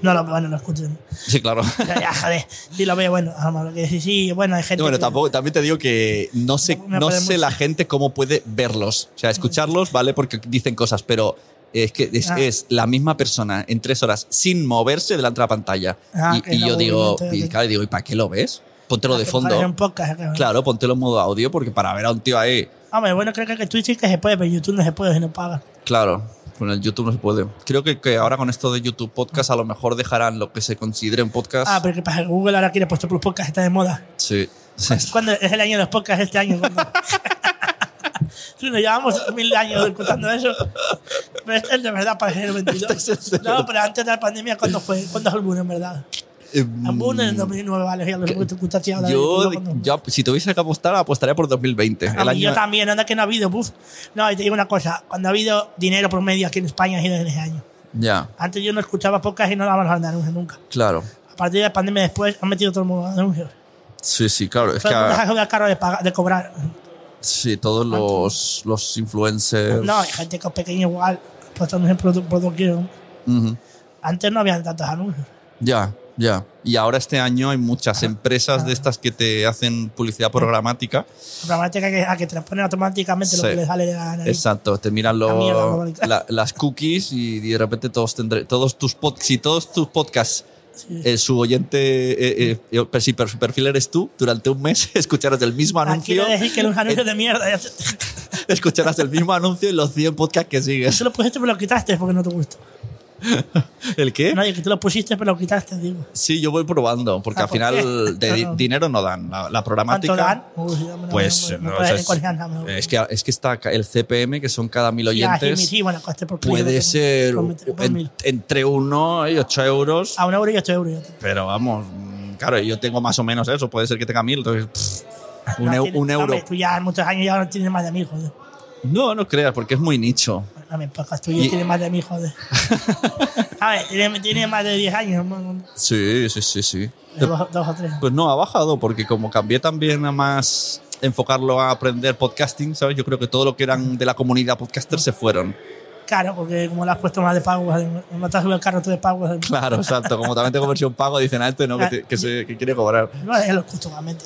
Speaker 2: No lo, bueno, lo escuchen.
Speaker 1: Sí, claro.
Speaker 2: Ya, ya, joder. Sí, lo veo, bueno, a lo mejor que sí, sí, bueno, hay gente.
Speaker 1: bueno,
Speaker 2: que-
Speaker 1: tampoco, también te digo que no sé,
Speaker 2: Tampoco me
Speaker 1: no
Speaker 2: parece
Speaker 1: sé
Speaker 2: mucho.
Speaker 1: la gente cómo puede verlos. O sea, escucharlos, ¿vale? Porque dicen cosas, pero es que es,
Speaker 2: Ah.
Speaker 1: es la misma persona en tres horas sin moverse delante de la pantalla.
Speaker 2: Ah,
Speaker 1: y
Speaker 2: que
Speaker 1: y
Speaker 2: no,
Speaker 1: yo digo,
Speaker 2: obviamente,
Speaker 1: y,
Speaker 2: que-
Speaker 1: claro, digo, ¿y para qué lo ves? Póntelo de
Speaker 2: Ah, que parece Un
Speaker 1: fondo.
Speaker 2: podcast, claro.
Speaker 1: Claro, póntelo en modo audio, porque para ver a un tío ahí,
Speaker 2: Hombre, bueno, creo que Twitch sí que se puede, pero YouTube no se puede si no pagas.
Speaker 1: claro. Con el YouTube no se puede. Creo que, que ahora con esto de YouTube Podcast a lo mejor dejarán lo que se considere un podcast.
Speaker 2: Ah, pero que pasa, Google ahora quiere puesto plus podcast, está de moda.
Speaker 1: sí.
Speaker 2: ¿Cuándo es el año de los podcasts este año? ¿Cuándo? Sí, nos llevamos mil años escuchando eso. Pero este es de verdad para el 22.
Speaker 1: Este es el de
Speaker 2: no, pero antes de la pandemia, ¿cuándo fue? ¿Cuándo es el boom, en verdad? El boom en el 2009, vale, ya lo que tú escuchaste ahora.
Speaker 1: Mm. Yo,
Speaker 2: ¿cuándo fue?
Speaker 1: yo, si tuviese que apostar, apostaría por 2020.
Speaker 2: A
Speaker 1: el
Speaker 2: mí
Speaker 1: año-
Speaker 2: Yo también, anda que no ha habido, buf. No, y te digo una cosa, cuando ha habido dinero por medio aquí en España ha sido en ese año.
Speaker 1: Ya,
Speaker 2: Antes yo no escuchaba podcast y no daban los anuncios nunca.
Speaker 1: claro.
Speaker 2: A partir de la pandemia después han metido todo el mundo anuncios.
Speaker 1: Sí, sí, claro. Es
Speaker 2: Todo
Speaker 1: que
Speaker 2: el mundo se ha
Speaker 1: ah,
Speaker 2: jodido el carro de, pagar- de cobrar.
Speaker 1: sí, todos los, los influencers.
Speaker 2: No, hay gente con pequeño igual, pues anuncios por, por doquier.
Speaker 1: Ujú.
Speaker 2: Antes no había tantos anuncios.
Speaker 1: Ya, ya. Y ahora este año hay
Speaker 2: Ah,
Speaker 1: muchas empresas de estas que te hacen publicidad programática.
Speaker 2: Probablemente que, a que te ponen automáticamente
Speaker 1: Sí.
Speaker 2: lo que le sale de la nariz.
Speaker 1: Exacto, te miran
Speaker 2: La mierda,
Speaker 1: lo-
Speaker 2: programática.
Speaker 1: la- las cookies y de repente todos tendré, todos tus pod- si todos tus podcasts
Speaker 2: Sí.
Speaker 1: eh, su oyente, eh, eh, eh, si per- su perfil eres tú, durante un mes escucharás el mismo
Speaker 2: Ah,
Speaker 1: anuncio.
Speaker 2: Quiere decir que los anuncios de mierda. ya te-
Speaker 1: escucharás el mismo anuncio en los 100 podcasts que sigues.
Speaker 2: Tú lo pusiste pero lo quitaste porque no te gustó.
Speaker 1: ¿El qué?
Speaker 2: Nadie que tú lo pusiste pero lo quitaste, digo.
Speaker 1: Sí, yo voy probando, porque
Speaker 2: Ah,
Speaker 1: al
Speaker 2: ¿por
Speaker 1: final
Speaker 2: qué?
Speaker 1: de di-
Speaker 2: No, no.
Speaker 1: dinero no dan. La, la
Speaker 2: ¿Cuánto
Speaker 1: programática.
Speaker 2: dan? Uy, sí, dame una-
Speaker 1: Pues
Speaker 2: me- me
Speaker 1: no,
Speaker 2: parece
Speaker 1: eso es,
Speaker 2: cualquiera, me-
Speaker 1: es que, es que está ca- el CPM, que son cada mil
Speaker 2: Sí, ah, Jimmy,
Speaker 1: oyentes,
Speaker 2: sí, bueno, coste por clic,
Speaker 1: puede
Speaker 2: por-
Speaker 1: ser
Speaker 2: por meter- este por
Speaker 1: en-
Speaker 2: mil. Ah.
Speaker 1: entre 1 y 8 euros.
Speaker 2: A un euro y ocho euros. ya te-
Speaker 1: Pero vamos, mm, claro, yo tengo más o menos eso, puede ser que tenga mil. Entonces, pff, un,
Speaker 2: No,
Speaker 1: eu-
Speaker 2: tiene-
Speaker 1: un euro.
Speaker 2: hombre, tú ya en muchos años ya no tienes más de mil, joder.
Speaker 1: No, no creas, porque es muy nicho.
Speaker 2: Pues No me podcast tú
Speaker 1: Y-
Speaker 2: ya tienes más de mil, joder. A ver, tiene, tiene más de 10 años, ¿no?
Speaker 1: Sí, sí, sí, sí.
Speaker 2: dos, dos o tres.
Speaker 1: Pues no, ha bajado, porque como cambié también a más enfocarlo a aprender podcasting, ¿sabes? Yo creo que todo lo que eran de la comunidad podcaster se fueron.
Speaker 2: Claro, porque como lo has puesto más de pago, no te has subido el carro tú de pago. joder.
Speaker 1: Claro, exacto. Como también tengo versión pago, dicen a este, ¿no? Que, te- que se, que quiere cobrar.
Speaker 2: No, ya lo escucho realmente.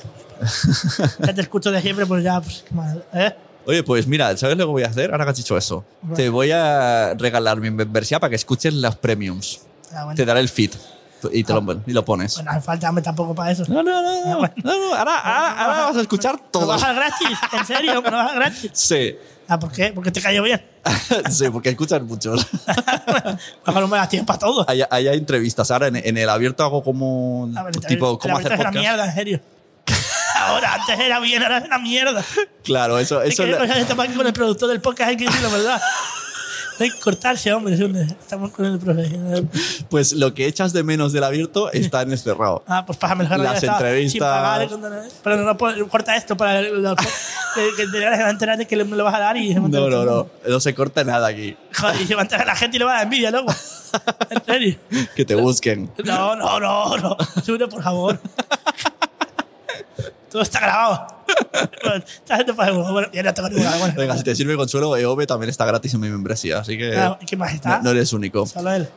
Speaker 2: ya te escucho de siempre, pues ya, pues qué mal. ¿eh?
Speaker 1: Oye, pues mira, ¿sabes lo que voy a hacer? Ahora que has dicho eso. Te voy a regalar mi membresía para que escuches los premiums.
Speaker 2: Ah, bueno,
Speaker 1: Te daré el feed y, te lo, y lo pones.
Speaker 2: Bueno, hace falta hombre, tampoco para eso.
Speaker 1: No, no, no. no, no, no, ahora, ahora- ahora vas a escuchar
Speaker 2: ¿No
Speaker 1: todo.
Speaker 2: vas a gratis? ¿En serio? ¿No vas a gratis?
Speaker 1: Sí,
Speaker 2: Ah, ¿por qué? Porque te cayó bien.
Speaker 1: sí, porque escuchas muchos.
Speaker 2: Mejor no me das tiempo a todo.
Speaker 1: Ahí, ahí hay entrevistas. Ahora en, en el abierto hago como.
Speaker 2: La verdad,
Speaker 1: tipo,
Speaker 2: la
Speaker 1: ¿cómo
Speaker 2: verdad
Speaker 1: hacer
Speaker 2: es una
Speaker 1: podcast?
Speaker 2: mierda, en serio. Ahora, antes era bien, ahora es una mierda.
Speaker 1: Claro, eso,
Speaker 2: Es
Speaker 1: eso
Speaker 2: que
Speaker 1: le-
Speaker 2: cosas estamos aquí con el productor del podcast, hay que decir la verdad. Hay que cortarse, hombre. es un- Estamos con el profesional.
Speaker 1: pues lo que echas de menos del abierto está en este el cerrado.
Speaker 2: Ah, pues pásame el jardín.
Speaker 1: Las
Speaker 2: ya está,
Speaker 1: entrevistas.
Speaker 2: Sin pagar, con- pero no, puedo- corta esto para el- el- que, que te vas a enterar de que le- me lo vas a dar y se va a
Speaker 1: No,
Speaker 2: enterar
Speaker 1: no,
Speaker 2: todo el
Speaker 1: no.
Speaker 2: mundo.
Speaker 1: No se corta nada aquí.
Speaker 2: Joder, y se va a enterar la gente y le va a dar envidia luego. ¿En serio?
Speaker 1: Que te busquen.
Speaker 2: No, no, no, no. Sube, por favor. Todo está grabado. Bueno, esta gente para bueno, ya no tengo ninguna. Bueno,
Speaker 1: Venga, si te sirve consuelo, EOB también está gratis en mi membresía. Así que
Speaker 2: Ah, ¿Qué más está?
Speaker 1: no, no eres único.
Speaker 2: Solo él.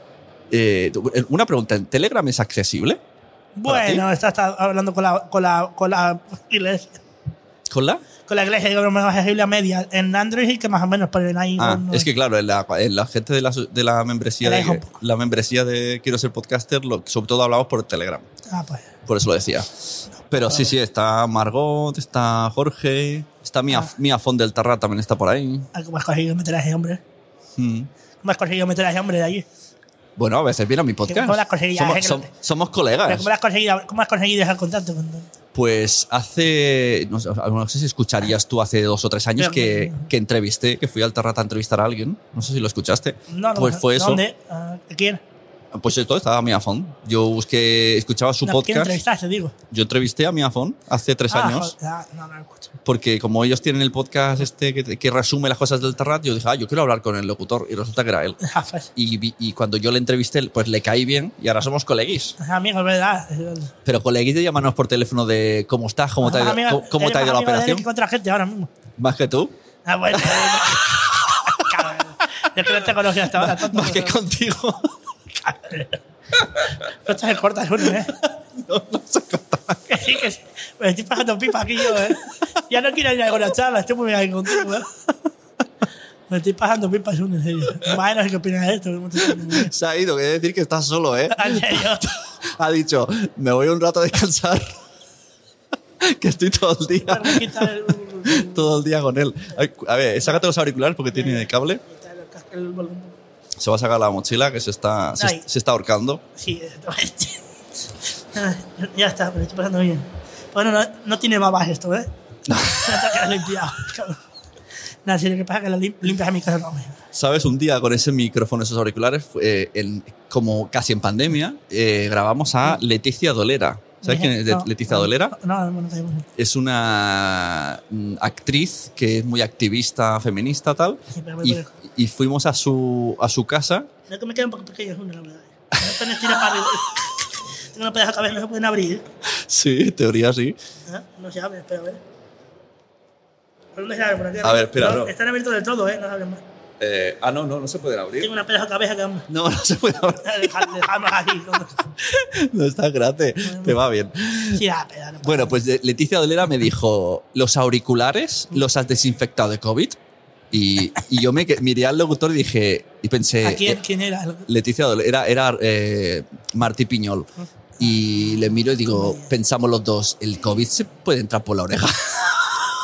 Speaker 1: Eh, tú- eh, una pregunta: ¿en ¿Telegram es accesible?
Speaker 2: Bueno, está, está hablando con la, con la, con la iglesia.
Speaker 1: ¿Con la?
Speaker 2: Con la iglesia, digo, más accesible a media. En Android y que más o menos, pero en iPhone.
Speaker 1: Ah,
Speaker 2: no
Speaker 1: es que claro, en la, en la gente de la, de la membresía
Speaker 2: Te la
Speaker 1: de,
Speaker 2: dejo un poco.
Speaker 1: la membresía de Quiero ser podcaster, lo- sobre todo hablamos por Telegram,
Speaker 2: Ah, pues.
Speaker 1: por eso lo decía. Pero sí, sí, está Margot, está Jorge, está Mia, Mia Font del Tarra también está por ahí.
Speaker 2: Ah, ¿Cómo has conseguido meter a ese hombre?
Speaker 1: Mm.
Speaker 2: ¿Cómo has conseguido meter a ese hombre de allí?
Speaker 1: Bueno, a veces viene a mi podcast.
Speaker 2: ¿Cómo la conseguí? Ya,
Speaker 1: Somos,
Speaker 2: sé que
Speaker 1: som-
Speaker 2: no te-
Speaker 1: somos
Speaker 2: Pero
Speaker 1: colegas.
Speaker 2: ¿Cómo has conseguido, cómo has conseguido ese contacto? con-
Speaker 1: Pues hace, no sé, no sé si escucharías tú hace dos o tres años
Speaker 2: Pero-
Speaker 1: que, que entrevisté, que fui al Tarrata a entrevistar a alguien, no sé si lo escuchaste.
Speaker 2: No, no,
Speaker 1: pues fue eso.
Speaker 2: ¿Dónde? Ah, ¿Quién?
Speaker 1: pues esto estaba Mia Font. Yo busqué, escuchaba su
Speaker 2: No, ¿Quién
Speaker 1: podcast.
Speaker 2: entrevistaste, digo?
Speaker 1: Yo entrevisté a Mia Font hace tres
Speaker 2: Ah,
Speaker 1: años.
Speaker 2: joder, ah, no, no lo escucho.
Speaker 1: Porque como ellos tienen el podcast este que, que resume las cosas del Terrat, yo dije, ah, yo quiero hablar con el locutor. Y resulta que era él.
Speaker 2: Ah, pues,
Speaker 1: Y, vi- y cuando yo le entrevisté, pues le caí bien y ahora somos coleguis.
Speaker 2: es amigo, es ¿verdad? Es el-
Speaker 1: Pero coleguis de llamarnos por teléfono de cómo estás, cómo te ha
Speaker 2: es
Speaker 1: ido,
Speaker 2: amigo-
Speaker 1: cómo- cómo
Speaker 2: eres
Speaker 1: te ha ido la
Speaker 2: más amigo de él
Speaker 1: operación.
Speaker 2: que otra gente ahora mismo.
Speaker 1: Más que tú.
Speaker 2: Ah, bueno. Cabrón. Yo que no te conocía hasta ahora. Tonto,
Speaker 1: Más que contigo.
Speaker 2: No estás en cortas, Juli, ¿eh?
Speaker 1: No, no sé contar.
Speaker 2: Que sí, que sí. Me estoy pasando pipa aquí yo, ¿eh? Ya no quiero ir a ninguna charla, estoy muy bien aquí contigo, ¿eh? Me estoy pasando pipa, Juli, en serio. Madre, no sé qué opinas de esto. no te sé ni-
Speaker 1: Se ha ido, quiere decir que estás solo, ¿eh?
Speaker 2: En serio.
Speaker 1: Ha dicho, me voy un rato a descansar. que estoy todo el día.
Speaker 2: Tengo que quitar el-
Speaker 1: Todo el día con él. Ay, A ver, sácate los auriculares porque tiene cable.
Speaker 2: quitar el casco, el volumen.
Speaker 1: Se va a sacar la mochila que se está, se,
Speaker 2: Ay.
Speaker 1: se está ahorcando.
Speaker 2: Sí, Ah, ya está, pero estoy pasando bien. Bueno, no, no tiene babas esto, ¿eh? No. que lo he limpiado. cabrón. Nada, si lo que pasa es que lo lim- limpias a mi casa no. güey.
Speaker 1: ¿Sabes? Un día con ese micrófono, esos auriculares, eh, en- como casi en pandemia, eh, grabamos a Leticia Dolera. ¿Sabes quién es de-
Speaker 2: No,
Speaker 1: Leticia
Speaker 2: no,
Speaker 1: Dolera?
Speaker 2: No, no, no tengo.
Speaker 1: Es una mm, actriz que es muy activista, feminista, tal.
Speaker 2: Sí, pero voy
Speaker 1: Y,
Speaker 2: por el-
Speaker 1: y fuimos a su, a su casa.
Speaker 2: No, que me queda un poco pequeño, Junior, la verdad. No tenés tira para arriba. Tengo una pedazo de cabeza, no se pueden abrir.
Speaker 1: Sí, en teoría sí.
Speaker 2: ¿eh? No se abre, espera, a ver. ¿Por dónde se abre? Por aquí.
Speaker 1: A ver, espera, no.
Speaker 2: Están abiertos del todo, ¿eh? No se abren más.
Speaker 1: Eh, ah, no, no, no se pueden abrir.
Speaker 2: Tengo una pedazo de cabeza que vamos.
Speaker 1: No, no se puede abrir.
Speaker 2: Dejamos aquí.
Speaker 1: No está grande. Te va bien.
Speaker 2: Sí, ah, pero no.
Speaker 1: Bueno, pues de- Leticia Dolera me dijo, los auriculares los has desinfectado de COVID. Y, y yo me que- miré al locutor y dije, y pensé,
Speaker 2: ¿A quién,
Speaker 1: eh,
Speaker 2: quién era?
Speaker 1: Leticia Dolera era, eh, Martí Piñol. Y le miro y digo, pensamos los dos, el COVID se puede entrar por la oreja.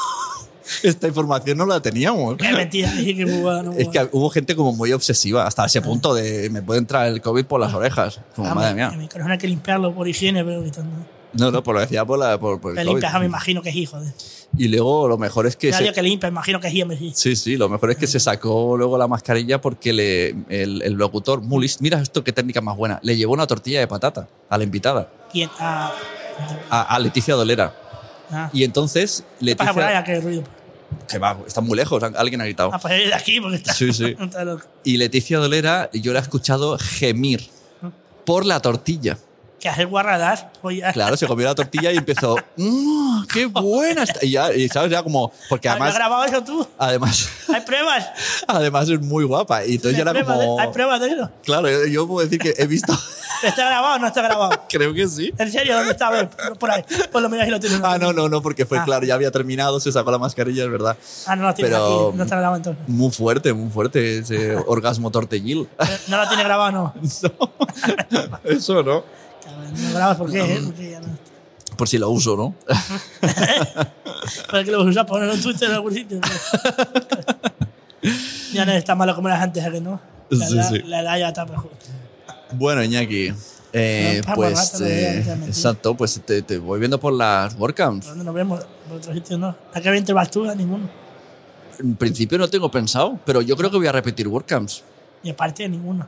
Speaker 1: Esta información no la teníamos.
Speaker 2: Qué mentira, sí, que jugada, no
Speaker 1: Es
Speaker 2: jugada.
Speaker 1: que hubo gente como muy obsesiva hasta ese punto de me puede entrar el COVID por las orejas. Como,
Speaker 2: Ah,
Speaker 1: oh, madre
Speaker 2: mi-
Speaker 1: mía.
Speaker 2: Mi corazón hay que limpiarlo por higiene, pero ahorita no.
Speaker 1: No, no, por lo decía por, la, por, por
Speaker 2: Que
Speaker 1: el COVID.
Speaker 2: limpia, me imagino que es hijo. De...
Speaker 1: Y luego lo mejor es que...
Speaker 2: Ya
Speaker 1: se-
Speaker 2: digo que limpia, imagino que es hijo. Sí.
Speaker 1: Sí, sí, lo mejor es que se sacó luego la mascarilla porque le, el, el locutor, Mulis, mira esto qué técnica más buena, le llevó una tortilla de patata a la invitada,
Speaker 2: ¿Quién? Ah,
Speaker 1: a, a Leticia Dolera.
Speaker 2: ah.
Speaker 1: Y entonces
Speaker 2: ¿Qué pasa por
Speaker 1: Leticia...
Speaker 2: allá? ¿Qué ruido?
Speaker 1: Que va, está muy lejos, alguien ha gritado.
Speaker 2: Ah, pues es de aquí porque está.
Speaker 1: Sí, sí.
Speaker 2: está loco.
Speaker 1: Y Leticia Dolera, yo la he escuchado gemir por la tortilla.
Speaker 2: Que hace pues guarradas. Oye,
Speaker 1: Claro, se comió la tortilla y empezó, "Mm, ¡qué buena! está". Y ya, y sabes, ya como, porque
Speaker 2: Ah, ¿Has
Speaker 1: además,
Speaker 2: grabado eso tú?
Speaker 1: además,
Speaker 2: ¿Hay pruebas?
Speaker 1: además es muy guapa. Y entonces yo
Speaker 2: ¿Hay
Speaker 1: era
Speaker 2: pruebas de-
Speaker 1: como,
Speaker 2: ¿Hay pruebas de eso?
Speaker 1: claro, yo- yo puedo decir que he visto,
Speaker 2: ¿Está grabado o no está grabado?
Speaker 1: creo que sí.
Speaker 2: ¿En serio? ¿Dónde está? A ver, por ahí. Por lo menos ahí lo tienes.
Speaker 1: Ah, no, no, no, porque fue
Speaker 2: Ah.
Speaker 1: claro, ya había terminado, se sacó la mascarilla, es verdad.
Speaker 2: Ah, no lo tienes
Speaker 1: Pero-
Speaker 2: aquí. No está grabado entonces.
Speaker 1: Muy fuerte, muy fuerte ese orgasmo tortellil.
Speaker 2: No lo tienes grabado, no.
Speaker 1: Eso, ¿no?
Speaker 2: Cabrón, No lo grabas por qué, ¿eh? Porque ya no.
Speaker 1: Por si lo uso, ¿no?
Speaker 2: Para que lo usas poner en Twitter en algún sitio. ¿no? ya no es tan malo como eras antes, ¿a que no? La,
Speaker 1: Sí,
Speaker 2: edad,
Speaker 1: sí.
Speaker 2: la edad ya está mejor.
Speaker 1: Bueno, Iñaki, eh,
Speaker 2: No, pa'
Speaker 1: pues...
Speaker 2: borracho, no voy a
Speaker 1: eh,
Speaker 2: meter mentira.
Speaker 1: exacto, pues te, te voy viendo por las WordCamps.
Speaker 2: ¿Dónde nos vemos? Por otros sitios no. ¿A qué bien te vas tú? A ninguno.
Speaker 1: En principio no tengo pensado, pero yo creo que voy a repetir WordCamps.
Speaker 2: Y aparte, ninguno.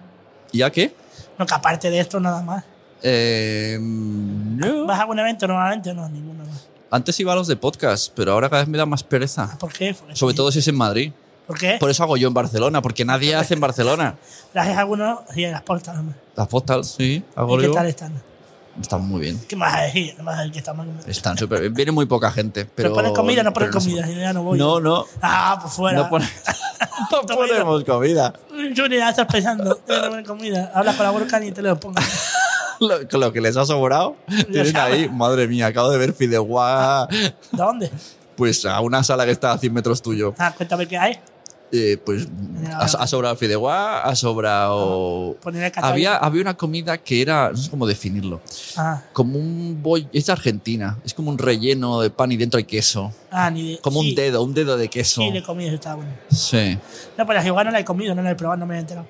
Speaker 1: ¿Y a qué?
Speaker 2: No, que aparte de esto, nada más.
Speaker 1: Eh, no.
Speaker 2: ¿Vas a algún evento normalmente? No, ninguno más.
Speaker 1: Antes iba a los de podcast, pero ahora cada vez me da más pereza.
Speaker 2: ¿Por qué? Porque-
Speaker 1: Sobre todo si es en Madrid.
Speaker 2: ¿Por qué?
Speaker 1: Por eso hago yo en Barcelona, porque nadie hace en Barcelona.
Speaker 2: Gracias a alguno y a las portas. nomás.
Speaker 1: Las postals, sí. hago
Speaker 2: ¿Y qué
Speaker 1: yo.
Speaker 2: tal están?
Speaker 1: Están muy bien.
Speaker 2: ¿Qué más hay? decir? No vas a decir que está mal. ¿Pero,
Speaker 1: Están súper bien. Viene muy poca gente. Eh, Pero,
Speaker 2: ponen comida? No ponen
Speaker 1: pero sé.
Speaker 2: comida. si no, ya no voy.
Speaker 1: No, no.
Speaker 2: Ah, pues fuera.
Speaker 1: No, pone- no ponemos comida.
Speaker 2: Junior, ya estás pensando. Te voy a poner comida. Habla con la Burkan y te lo pongo.
Speaker 1: Lo, con lo que les ha sobrado, tienen ahí. Madre mía, acabo de ver Fideuá.
Speaker 2: ¿Dónde?
Speaker 1: Pues a una sala que está a 100 metros tuyo.
Speaker 2: Ah, cuéntame qué hay.
Speaker 1: Eh, pues
Speaker 2: Ya, Ah,
Speaker 1: ha,
Speaker 2: ya.
Speaker 1: ha sobrado Fideuá, ha sobrado.
Speaker 2: Poner el cachorro.
Speaker 1: Había, había una comida que era. No sé cómo definirlo.
Speaker 2: Ah,
Speaker 1: Como un boy. Es argentina. Es como un relleno de pan y dentro hay queso.
Speaker 2: ah, ni de-
Speaker 1: Como
Speaker 2: sí,
Speaker 1: un dedo, un dedo de queso.
Speaker 2: Sí, le he comido, eso estaba bueno.
Speaker 1: Sí.
Speaker 2: No, pero igual no la he comido, no la he probado, no me he enterado.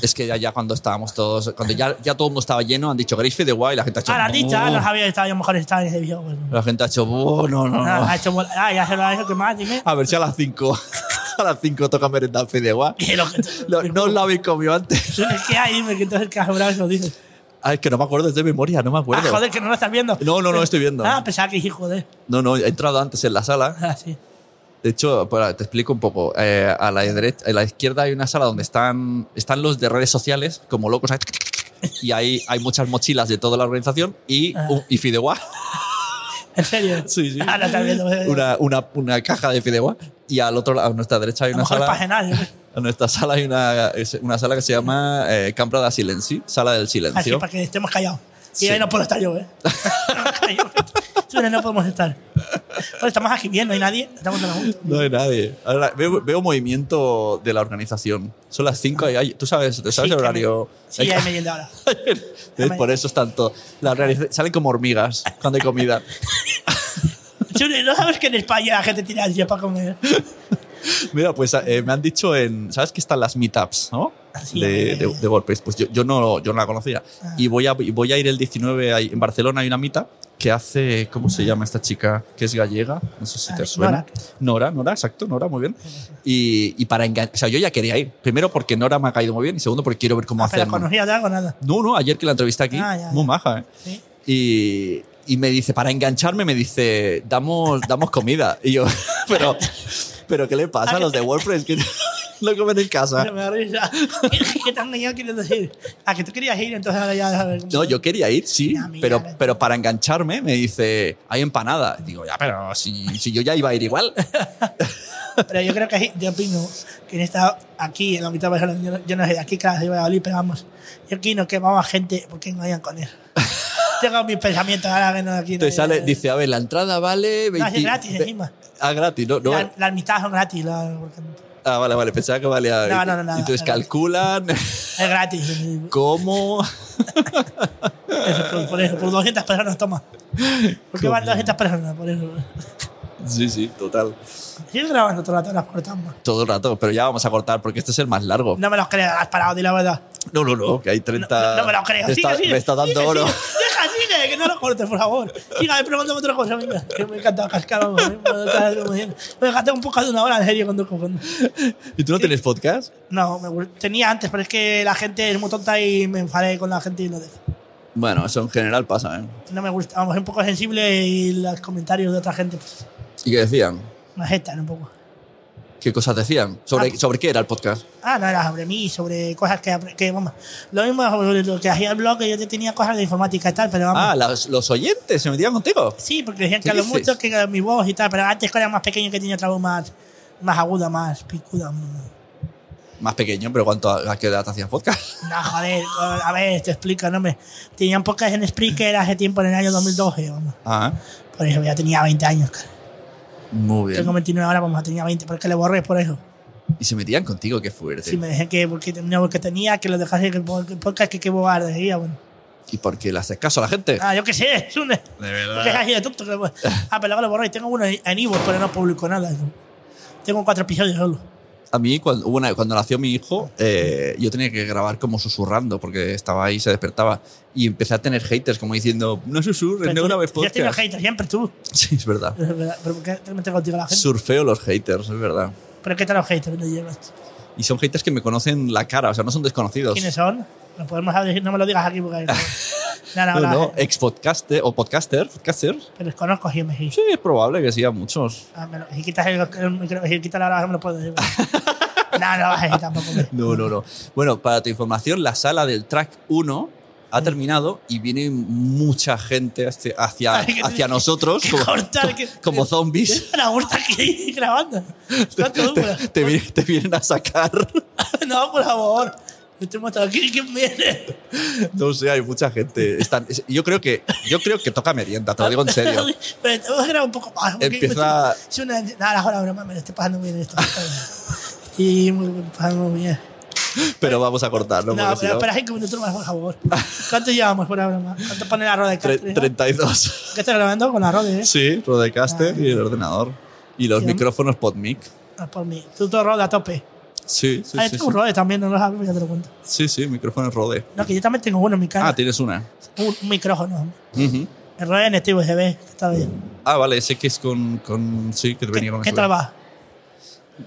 Speaker 1: Es que ya, ya cuando estábamos todos, cuando ya, ya todo el mundo estaba lleno, han dicho queréis fideuá y la gente ha hecho.
Speaker 2: Ah, la dicha, ah,
Speaker 1: "Buh".
Speaker 2: no sabía que estaba yo mejor estaba en ese video. Bueno.
Speaker 1: La gente ha hecho, "Buh, no, no, no".
Speaker 2: Ah, ha hecho bol- ah, ya se lo ha hecho, ¿qué más? Dime.
Speaker 1: A ver si a las 5. a las 5 toca merendar fideuá.
Speaker 2: Que lo que-
Speaker 1: No, no os lo habéis comido antes.
Speaker 2: Eso Es que hay, dime que entonces que has bravo lo dices.
Speaker 1: Ah, es que no me acuerdo, es de memoria, no me
Speaker 2: Ah,
Speaker 1: acuerdo.
Speaker 2: joder, que no lo estás viendo.
Speaker 1: No, no, no estoy viendo.
Speaker 2: Ah, pensaba que dije, joder.
Speaker 1: No, no, he entrado antes en la sala.
Speaker 2: Ah, sí.
Speaker 1: De hecho, para- te explico un poco. Eh, a, la derecha, a la izquierda hay una sala donde están, están los de redes sociales, como locos. ahí, Y ahí hay muchas mochilas de toda la organización y,
Speaker 2: Ah.
Speaker 1: un- y fideuá.
Speaker 2: ¿En serio?
Speaker 1: Sí, sí.
Speaker 2: Ah, lo estás viendo.
Speaker 1: Una, una, una caja de fideuá. Y al otro lado, a nuestra derecha hay
Speaker 2: a
Speaker 1: una
Speaker 2: lo mejor es para
Speaker 1: sala.
Speaker 2: cenar. ¿eh? yo qué sé.
Speaker 1: A nuestra sala hay una, es una sala que se llama eh, Cambra da Silenci, Sala del
Speaker 2: Así,
Speaker 1: Silencio.
Speaker 2: Ah, para que estemos callados. Y
Speaker 1: Sí.
Speaker 2: ahí no puedo estar yo, ¿eh? Tú no podemos estar. Bueno, estamos aquí bien, no hay nadie. Estamos en la junta.
Speaker 1: No hay nadie. Ahora, veo, veo movimiento de la organización. Son las 5 y hay- tú sabes, ¿tú sabes
Speaker 2: Sí,
Speaker 1: el horario.
Speaker 2: que me- Sí,
Speaker 1: Hay-
Speaker 2: hay merienda ahora.
Speaker 1: ¿Ves? Por eso es tanto. La organiza- salen como hormigas cuando hay comida.
Speaker 2: Tú no sabes que en España la gente tiene ansia para comer.
Speaker 1: Mira, pues eh, me han dicho en. ¿Sabes que están las meetups, no?
Speaker 2: Sí,
Speaker 1: de,
Speaker 2: eh.
Speaker 1: de, de WordPress. Pues yo, yo no, yo no la conocía.
Speaker 2: Ah.
Speaker 1: Y voy a, voy a ir el 19. hay- en Barcelona hay una meetup que hace. ¿Cómo se llama esta chica? Que es gallega. No sé si
Speaker 2: Ah,
Speaker 1: te suena.
Speaker 2: Nora.
Speaker 1: Nora, Nora, exacto. Nora, muy bien. Y, y para engañar. O sea, yo ya quería ir. Primero porque Nora me ha caído muy bien y segundo porque quiero ver cómo
Speaker 2: Ah, Pero
Speaker 1: hacerlo.
Speaker 2: conocía de algo, nada.
Speaker 1: No, no, ayer que la entrevisté aquí.
Speaker 2: Ah, ya, ya.
Speaker 1: Muy maja, ¿eh?
Speaker 2: ¿Sí?
Speaker 1: y, y me dice, para engancharme, me dice, damos, damos comida. Y yo, pero, pero ¿qué le pasa a los de WordPress? Que no comen en
Speaker 2: Pero
Speaker 1: casa.
Speaker 2: me da risa. ¿Qué tan engañado quieres decir? A que tú querías ir, entonces ahora ya.
Speaker 1: No, yo quería ir, sí,
Speaker 2: Ya, mira,
Speaker 1: pero,
Speaker 2: vete.
Speaker 1: pero para engancharme me dice, hay empanada. Y Digo, ya, pero si, si yo ya iba a ir igual.
Speaker 2: Pero yo creo que ahí- yo opino que en esta, aquí, en la mitad de Barcelona, yo, no- yo no sé, de aquí, claro, yo voy a Valladolid, pero vamos, yo aquí no quemaba gente porque engañan con eso. Tengo mis pensamientos ahora que no aquí. no-
Speaker 1: Te sale, dice, a ver, la entrada vale
Speaker 2: No,
Speaker 1: 20...
Speaker 2: es gratis
Speaker 1: ve-
Speaker 2: encima.
Speaker 1: Ah, gratis, no, no.
Speaker 2: La- Las mitades son gratis. la- porque
Speaker 1: Ah, vale, vale, pensaba que valía...
Speaker 2: No, no, no, nada,
Speaker 1: Entonces
Speaker 2: era-
Speaker 1: calculan
Speaker 2: Es gratis. y-
Speaker 1: cómo...
Speaker 2: eso, por, por eso, por 200 personas toma. ¿Por qué van 200 personas? Por eso.
Speaker 1: Sí, sí, total.
Speaker 2: Sigue grabando todo el rato, las cortamos.
Speaker 1: Todo el rato, pero ya vamos a cortar porque este es el más largo.
Speaker 2: No me los creo, has parado, di la verdad.
Speaker 1: No, no, no, que hay
Speaker 2: No,
Speaker 1: 30.
Speaker 2: no, no me lo creo.
Speaker 1: Me,
Speaker 2: Sigue,
Speaker 1: está,
Speaker 2: sigue,
Speaker 1: me está dando
Speaker 2: sigue,
Speaker 1: oro.
Speaker 2: sigue. Deja, sigue, que no lo cortes, por favor. Siga, pregúntame otra cosa, venga. Que me encanta cascar. vamos, eh, bueno, otra vez, como diciendo. Me gasté un poco de una hora, en serio, cuando... cuando-
Speaker 1: ¿Y tú no tienes podcast?
Speaker 2: No, me gu- tenía antes, pero es que la gente es muy tonta y me enfadé con la gente y lo dejé.
Speaker 1: Bueno, eso en general pasa, ¿eh?
Speaker 2: No me gusta, vamos, es un poco sensible y los comentarios de otra gente, pues,
Speaker 1: ¿Y qué decían?
Speaker 2: me agitan un poco.
Speaker 1: ¿Qué cosas decían? ¿Sobre,
Speaker 2: Ah.
Speaker 1: ¿sobre qué era el podcast?
Speaker 2: Ah, no, era sobre mí, sobre cosas que... apre- que vamos, lo mismo sobre lo que hacía el blog, que yo tenía cosas de informática y tal, pero vamos...
Speaker 1: Ah, las- los oyentes se metían contigo.
Speaker 2: Sí, porque decían
Speaker 1: ¿Qué
Speaker 2: que a lo
Speaker 1: dices?
Speaker 2: mucho que mi voz y tal, pero antes cuando era más pequeño que tenía otra voz más, más aguda, más picuda. No,
Speaker 1: Más pequeño, pero ¿cuánto a, a qué edad hacías podcast?
Speaker 2: joder, a ver, te explico, no me. Tenían pocas en Spreaker hace tiempo, en el año 2012, vamos.
Speaker 1: Ah,
Speaker 2: Por eso ya tenía 20 años, cara.
Speaker 1: muy bien.
Speaker 2: Tengo 29 ahora, vamos, tenía 20, porque le borré por eso.
Speaker 1: Y se metían contigo, qué fuerte.
Speaker 2: Sí, me dejé que porque, no, porque tenía, que lo dejase que el podcast, que qué bobar, decía, bueno.
Speaker 1: ¿Y por qué le haces caso a la gente?
Speaker 2: Ah, yo qué sé, es un.
Speaker 1: De
Speaker 2: Porque es así de tonto que lo- Ah, pero luego lo borré y tengo uno en Ivo, pero no publico nada. Tengo cuatro episodios solo.
Speaker 1: A mí, cuando, hubo una- cuando nació mi hijo, eh, yo tenía que grabar como susurrando, porque estaba ahí, se despertaba. Y empecé a tener haters, como diciendo, no susurres, Pues no
Speaker 2: tú-
Speaker 1: grabes
Speaker 2: Yo tengo
Speaker 1: podcast.
Speaker 2: haters siempre tú.
Speaker 1: Sí, es verdad.
Speaker 2: Es verdad, pero ¿por qué te metes contigo la gente?
Speaker 1: Surfeo los haters, es verdad.
Speaker 2: ¿Pero qué tal los haters no llevas?
Speaker 1: Y son haters que me conocen la cara, o sea, no son desconocidos.
Speaker 2: ¿Quiénes son? ¿Lo podemos decir? No me lo digas aquí porque... no, no,
Speaker 1: No, eh.
Speaker 2: no,
Speaker 1: no, ex podcaster o podcaster, podcaster.
Speaker 2: Pero los conozco siempre, sí.
Speaker 1: Sí, es probable que sí a muchos.
Speaker 2: Ah, me lo- si quitas el, el micro- si quitas la grabación me lo puedo decir. no, no lo vas a decir tampoco. hombre.
Speaker 1: No, no, no. Bueno, para tu información, la sala del track 1
Speaker 2: Mm.
Speaker 1: ha terminado y viene mucha gente hacia, hacia,
Speaker 2: Ay, que-
Speaker 1: hacia nosotros
Speaker 2: que
Speaker 1: como,
Speaker 2: cortar, que-
Speaker 1: como
Speaker 2: ¿Qué
Speaker 1: zombies.
Speaker 2: te la gusta aquí grabando? ¿Cuánto dura?
Speaker 1: Te, te vi- te vienen a sacar.
Speaker 2: No, por favor. Estoy mostrado aquí. ¿Quién viene?
Speaker 1: No sé, hay mucha gente. Están- yo, creo que, yo creo que toca merienda, te lo digo en serio.
Speaker 2: Pero te voy a grabar un poco más. porque
Speaker 1: Empieza-
Speaker 2: me estoy- Es una... Nada, ahora broma, me lo estoy pasando muy bien esto. Y me lo estoy pasando muy bien.
Speaker 1: Pero vamos a cortar, ¿no?
Speaker 2: No,
Speaker 1: Porque si
Speaker 2: pero
Speaker 1: no,
Speaker 2: espera cinco minutos más, por favor. ¿Cuánto llevamos por ahora más? ¿Cuánto pone la roda de
Speaker 1: tre-
Speaker 2: castre?
Speaker 1: 32.
Speaker 2: ¿Qué estás grabando con la roda, eh?
Speaker 1: Sí, Rodecaster
Speaker 2: Ah.
Speaker 1: y el ordenador. Y los
Speaker 2: Sí.
Speaker 1: micrófonos PodMic.
Speaker 2: Ah, por mí. Tú todo roda a tope.
Speaker 1: Sí, sí,
Speaker 2: ah,
Speaker 1: sí,
Speaker 2: yo tengo
Speaker 1: sí.
Speaker 2: un rode también, no lo sabes, ya te lo cuento.
Speaker 1: Sí, sí, micrófonos Rode.
Speaker 2: No, que yo también tengo uno en mi casa.
Speaker 1: Ah, tienes una.
Speaker 2: un, un micrófono.
Speaker 1: Ujú.
Speaker 2: El rode en este USB, que está bien.
Speaker 1: Ah, vale, ese que es con. con sí, que
Speaker 2: ¿Qué,
Speaker 1: venía con
Speaker 2: qué
Speaker 1: USB.
Speaker 2: tal va?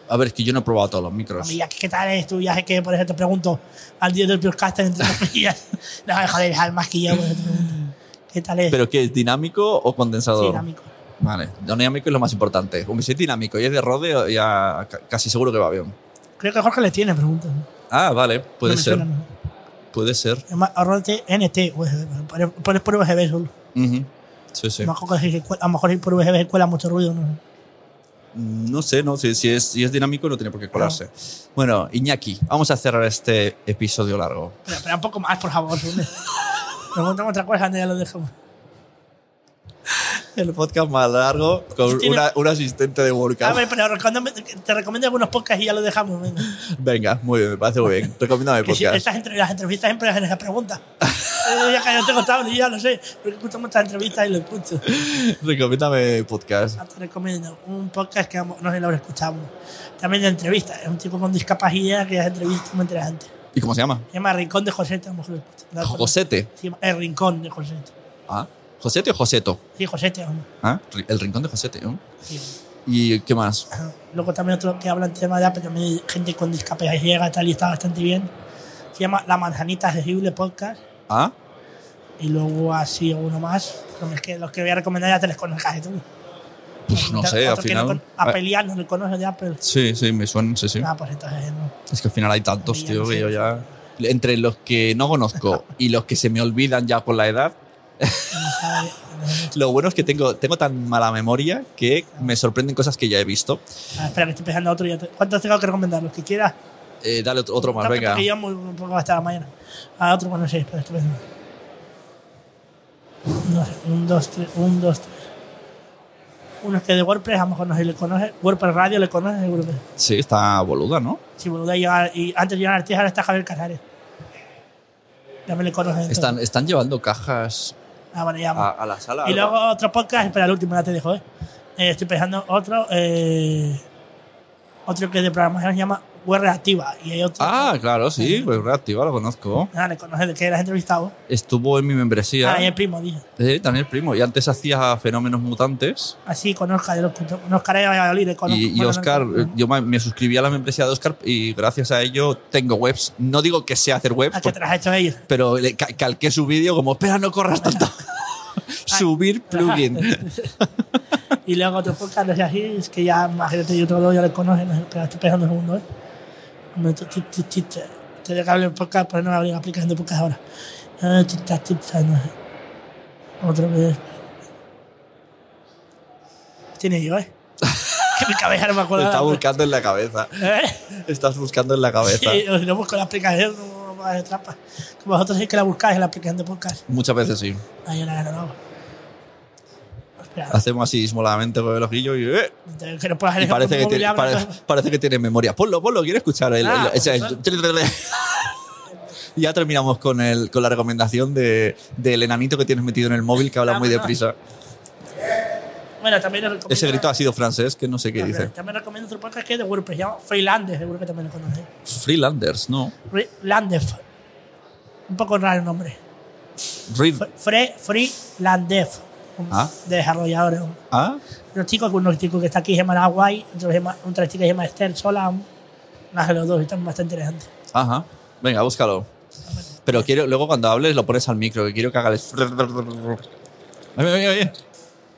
Speaker 1: A ver, es que yo no he probado todos los micros.
Speaker 2: Hombre, Ah, ya, ¿Qué tal es tu viaje? Que por eso te pregunto al día del podcaster, entre comillas. no, joder, al más que yo, por eso te pregunto. ¿Qué tal es?
Speaker 1: ¿Pero qué es dinámico o condensador?
Speaker 2: Dinámico.
Speaker 1: Vale, dinámico es lo más importante. Como si es dinámico y es de rodeo, ya ca- casi seguro que va bien.
Speaker 2: Creo que Jorge le tiene preguntas.
Speaker 1: Ah, vale, puede
Speaker 2: No me
Speaker 1: ser.
Speaker 2: suena, no.
Speaker 1: Puede ser.
Speaker 2: Además, ahorrate NT, USB. Pones- Pones por USB solo.
Speaker 1: Ujú. Sí, sí.
Speaker 2: A lo mejor si se cuela- a lo mejor si por USB cuela mucho ruido, ¿no?
Speaker 1: No sé, no sé. Si es, si es dinámico, no tiene por qué colarse.
Speaker 2: Ah.
Speaker 1: Bueno, Iñaki, vamos a cerrar este episodio largo.
Speaker 2: Pero, pero un poco más, por favor. hombre. Preguntamos otra cosa, antes ya lo dejamos.
Speaker 1: El podcast más largo con
Speaker 2: Tiene-
Speaker 1: una, un asistente de
Speaker 2: A
Speaker 1: workout.
Speaker 2: ver, pero recomiéndame- te recomiendo algunos podcasts y ya lo dejamos. venga.
Speaker 1: Venga, muy bien, me parece muy bien. Recomiéndame el
Speaker 2: Que si
Speaker 1: podcast.
Speaker 2: estas entre- las entrevistas siempre hacen esas preguntas. Yo ya que no tengo tabla, yo ya lo sé. Porque escucho muchas entrevistas y lo escucho.
Speaker 1: Recomiéndame el podcast.
Speaker 2: Ah, Te recomiendo un podcast que amo- no sé lo habré escuchado. También de entrevistas. Es un tipo con discapacidad que hace entrevistas muy interesantes.
Speaker 1: ¿Y cómo se llama?
Speaker 2: Se llama Rincón de José, a lo mejor lo escuchas. La otra-
Speaker 1: Josete.
Speaker 2: se llama El Rincón de José.
Speaker 1: Ah, ¿Josete o Joseto?
Speaker 2: Sí, José, te amo.
Speaker 1: Ah, ri- El rincón de Josete. ¿no?
Speaker 2: Sí.
Speaker 1: ¿Y qué más?
Speaker 2: Ajá. Luego también otro que habla en tema de "Ah, pero también hay gente con discapacidad ciega y tal y está bastante bien. Se llama La Manzanita Accesible Podcast.
Speaker 1: Ah,
Speaker 2: Y luego así uno más. Pero es que los que voy a recomendar ya te les conoces casi tú.
Speaker 1: pues no
Speaker 2: Otro
Speaker 1: sé, al
Speaker 2: que no
Speaker 1: final. Ah,
Speaker 2: con- a pelear no le conoces ya, pero.
Speaker 1: Sí, sí, me suenan, sí, sí.
Speaker 2: Ah, pues entonces no.
Speaker 1: Es que al final hay tantos,
Speaker 2: Ya
Speaker 1: tío,
Speaker 2: no
Speaker 1: que
Speaker 2: sé.
Speaker 1: yo ya. Entre los que no conozco y los que se me olvidan ya con la edad,
Speaker 2: no sabe- no sabe mucho.
Speaker 1: lo bueno es que tengo, tengo tan mala memoria que me sorprenden cosas que ya he visto.
Speaker 2: Ah, espera, que estoy pensando otro. y otro. ¿Cuántos tengo que recomendar? Los que quieras.
Speaker 1: Eh, dale otro, otro más,
Speaker 2: Tanto
Speaker 1: venga.
Speaker 2: Porque yo muy, muy poco hasta la mañana. A otro, bueno, sí, pero estoy pensando. No sé, un, dos, tres, un, dos, tres. Uno es que de WordPress, a lo mejor no sé si le conoce. WordPress Radio le conoce, seguro que.
Speaker 1: Sí, está boluda, ¿no?
Speaker 2: Si boluda, y, ahora- y antes de Joan Artiz, ahora está Javier Casares. Ya me le conoce.
Speaker 1: Están, están llevando cajas
Speaker 2: Ah, bueno, ya.
Speaker 1: a, a la sala.
Speaker 2: y luego otro podcast, espera, el último, ya te dejo, ¿eh? Eh, estoy pensando otro. Eh, otro que de programación se llama Web Reactiva. Y hay otro.
Speaker 1: Ah, claro, sí, pues reactiva, lo conozco.
Speaker 2: Ah, le conoce, de que eras entrevistado.
Speaker 1: Estuvo en mi membresía.
Speaker 2: Ah, y el primo, dije.
Speaker 1: Eh, Daniel Primo. Y antes hacía Fenómenos Mutantes.
Speaker 2: así con Oscar, de los- con Oscar de Valladolid. Con,
Speaker 1: y, y
Speaker 2: bueno,
Speaker 1: Oscar,
Speaker 2: no,
Speaker 1: eh, yo me me suscribí a la membresía de Oscar y gracias a ello tengo webs. No digo que sea hacer webs,
Speaker 2: ¿A qué Ah, te
Speaker 1: por-
Speaker 2: las has hecho ellos?
Speaker 1: pero le ca- calqué su vídeo como, espera, no corras tanto.
Speaker 2: Ah.
Speaker 1: Subir plugin.
Speaker 2: y luego otro podcast, no sé así, es que ya más gente de YouTube ya le conoce, no sé, pero estoy pensando en segundo, ¿eh? Me- tu- tu- tu- tu- tu- Tenía que hablar en podcast, pero no me abrir aplicación de podcast ahora. Eh, tu- ta- tu- ta, no sé. Otro que Tiene yo, ¿eh? que mi cabeza no me
Speaker 1: Lo
Speaker 2: acuerdo.
Speaker 1: está
Speaker 2: ahora,
Speaker 1: buscando en la cabeza.
Speaker 2: pero- ¿Eh?
Speaker 1: Estás buscando en la cabeza.
Speaker 2: Sí, o si no busco la aplicación, no me hace trampa. Como vosotros sí que la buscáis en la aplicación de podcast.
Speaker 1: Muchas veces sí.
Speaker 2: No, yo nada, no lo hago. Espera,
Speaker 1: Hacemos así ismoladamente con el ojillo y, eh,
Speaker 2: entonces, que no puedo hacer
Speaker 1: Ah, y
Speaker 2: eso
Speaker 1: parece, que
Speaker 2: con mi móvil,
Speaker 1: tiene,
Speaker 2: hablo,
Speaker 1: pare-
Speaker 2: entonces,
Speaker 1: parece que tiene memoria. Ponlo, ponlo, quiero escuchar. el-
Speaker 2: Ah,
Speaker 1: el- ese-
Speaker 2: pues
Speaker 1: ya terminamos con, el, con la recomendación de, del enanito que tienes metido en el móvil que habla
Speaker 2: Ah,
Speaker 1: muy
Speaker 2: bueno.
Speaker 1: deprisa.
Speaker 2: Bueno, también les recomiendo.
Speaker 1: Ese grito ha sido francés, que no sé qué
Speaker 2: Ah,
Speaker 1: dice.
Speaker 2: También recomiendo otro podcast que es de WordPress, se llama Freelander, seguro que también lo conocéis.
Speaker 1: Freelanders, no.
Speaker 2: Freelander. Un poco raro el nombre.
Speaker 1: Read.
Speaker 2: Fre- Fre Freelander. un-
Speaker 1: Ah.
Speaker 2: De desarrolladores. un-
Speaker 1: Ah,
Speaker 2: Unos chicos, unos chicos que está aquí se llama Nahuay, otro se llama, un tres chicos que se llama Esther Solam. Más de los dos, están bastante interesantes.
Speaker 1: ajá. Venga, búscalo. Pero quiero, luego cuando hables lo pones al micro, que quiero que haga el. Ay, ay, ay, ay.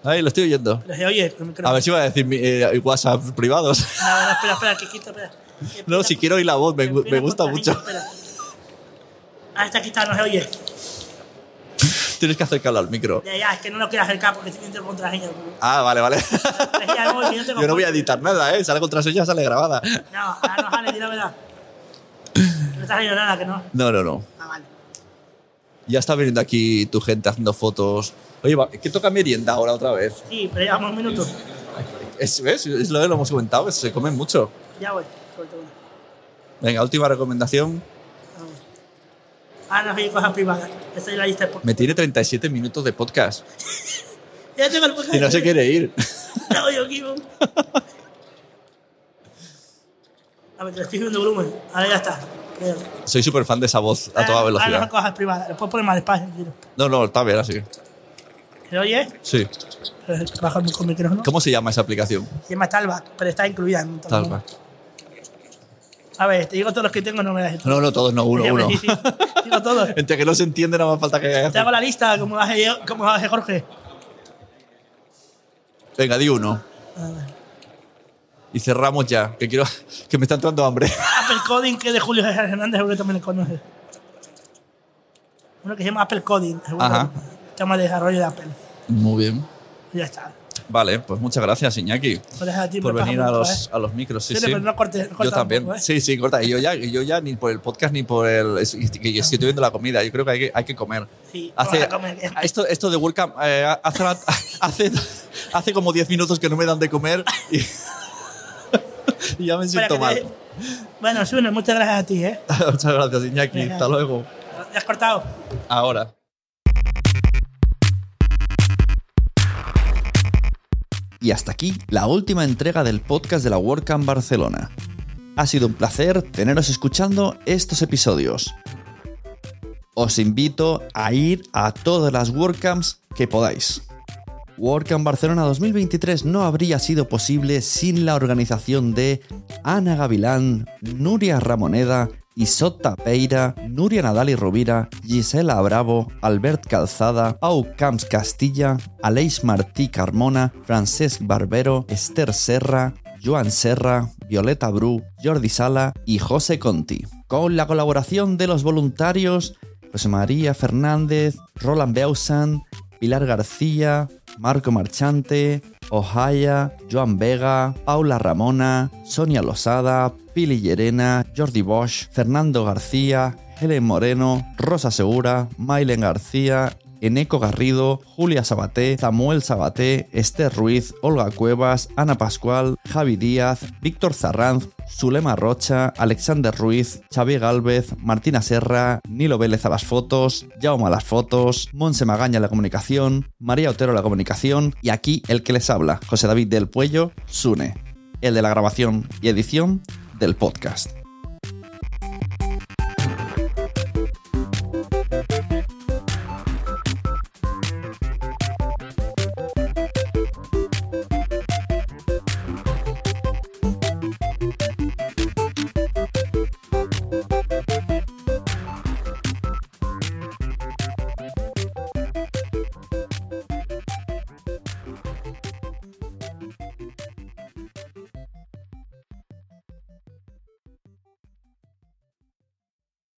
Speaker 1: Ay, lo estoy oyendo.
Speaker 2: Pero se oye, el micrófono.
Speaker 1: A ver si va a decir mi, eh, WhatsApp privados.
Speaker 2: No, no, espera, espera, que quito, espera.
Speaker 1: No, si quiero oír la voz, me, gu-
Speaker 2: Respira
Speaker 1: me gusta
Speaker 2: con
Speaker 1: mucho.
Speaker 2: cariño, espera. Ah, está quitado, no se oye.
Speaker 1: Tienes que acercarlo al micro.
Speaker 2: Ya, ya, es que no lo quiero acercar porque tiene entre contraseña.
Speaker 1: Ah, vale, vale.
Speaker 2: Es que ya no, si no tengo
Speaker 1: Yo no voy a
Speaker 2: cuenta.
Speaker 1: editar nada, ¿eh? Sale contraseña, sale grabada.
Speaker 2: No, ahora no sale, di la verdad. No está saliendo nada, que no.
Speaker 1: No, no, no.
Speaker 2: Ah, vale.
Speaker 1: Ya está viniendo aquí tu gente haciendo fotos. Oye, va, que toca merienda ahora otra vez.
Speaker 2: Sí, pero llevamos un minuto.
Speaker 1: Es, ¿Ves? Es lo que lo hemos comentado, se comen mucho.
Speaker 2: Ya voy. suelta una.
Speaker 1: Venga, última recomendación.
Speaker 2: Ah, voy. Ahora Ah, no soy cosas privadas. Esta es la lista de podcast.
Speaker 1: Me tiene 37 minutos de podcast
Speaker 2: Ya tengo el podcast.
Speaker 1: y no se quiere ir.
Speaker 2: No, yo quiero. A ver, que le estoy subiendo volumen. Ahora ya está. Creo.
Speaker 1: Soy súper fan de esa voz a toda
Speaker 2: Ahora- Ahora no
Speaker 1: velocidad.
Speaker 2: son cosas privadas. Le puedo poner más despacio. si quiero.
Speaker 1: No, no, está bien así.
Speaker 2: ¿Se oye?
Speaker 1: Sí.
Speaker 2: bajas Eh, con micrófono.
Speaker 3: ¿Cómo se llama esa aplicación?
Speaker 2: Se llama Talback, pero está incluida en todo el mundo.
Speaker 3: Talback.
Speaker 2: A ver, te digo todos los que tengo, no me das esto.
Speaker 3: No, no, todos no, uno, uno.
Speaker 2: Sí, sí, digo todos.
Speaker 3: Entre que no se entiende, nada más falta que
Speaker 2: Te hago la lista, como hace, como hace Jorge.
Speaker 3: Venga, di uno.
Speaker 2: A ver.
Speaker 3: Y cerramos ya, que quiero. que me está entrando hambre.
Speaker 2: Apple Coding, que es de Julio Hernández, seguro que también lo conoces. Uno que se llama Apple Coding, seguro.
Speaker 3: Ajá.
Speaker 2: Tema de desarrollo de Apple.
Speaker 3: Muy bien.
Speaker 2: Y ya está.
Speaker 3: Vale, pues muchas gracias, Iñaki.
Speaker 2: Pues deja a ti,
Speaker 3: Por
Speaker 2: me pasa
Speaker 3: venir a
Speaker 2: mucho,
Speaker 3: los,
Speaker 2: ¿eh?
Speaker 3: a los micros, sí,
Speaker 2: Sí,
Speaker 3: sí.
Speaker 2: pero no cortes- corta
Speaker 3: yo
Speaker 2: un
Speaker 3: también.
Speaker 2: poco, ¿eh?
Speaker 3: Sí, sí, corta. Y yo ya, y yo ya ni por el podcast ni por el. es- y- que yo estoy viendo la comida. Yo creo que hay que, hay que comer.
Speaker 2: Sí,
Speaker 3: Hace,
Speaker 2: vamos a comer.
Speaker 3: esto, esto de World Cup, eh, hace, hace, hace como 10 minutos que no me dan de comer y, y ya me
Speaker 2: Espera,
Speaker 3: siento
Speaker 2: que
Speaker 3: mal.
Speaker 2: te- eh. Bueno, Suno, muchas gracias a ti, ¿eh?
Speaker 3: Muchas gracias, Iñaki.
Speaker 2: Venga.
Speaker 3: Hasta luego.
Speaker 2: ¿Ya has cortado?
Speaker 3: Ahora. Y hasta aquí la última entrega del podcast de la WordCamp Barcelona. Ha sido un placer teneros escuchando estos episodios. Os invito a ir a todas las WordCamps que podáis. WordCamp Barcelona 2023 no habría sido posible sin la organización de Ana Gavilán, Nuria Ramoneda, Isota Peira, Nuria Nadal y Rovira, Gisela Bravo, Albert Calzada, Pau Camps Castilla, Aleix Martí Carmona, Francesc Barbero, Esther Serra, Joan Serra, Violeta Bru, Jordi Sala y José Conti. Con la colaboración de los voluntarios José María Fernández, Roland Beausan, Pilar García, Marco Marchante, Ohaya, Joan Vega, Paula Ramona, Sonia Losada, Pili Llerena, Jordi Bosch, Fernando García, Helen Moreno, Rosa Segura, Mailen García, Eneco Garrido, Julia Sabaté, Samuel Sabaté, Esther Ruiz, Olga Cuevas, Ana Pascual, Javi Díaz, Víctor Zarranz, Zulema Rocha, Alexander Ruiz, Xavier Gálvez, Martina Serra, Nilo Vélez a las fotos, Jaume a las fotos, Monse Magaña a la comunicación, María Otero a la comunicación y aquí el que les habla, José David del Puello, Sune, el de la grabación y edición del podcast.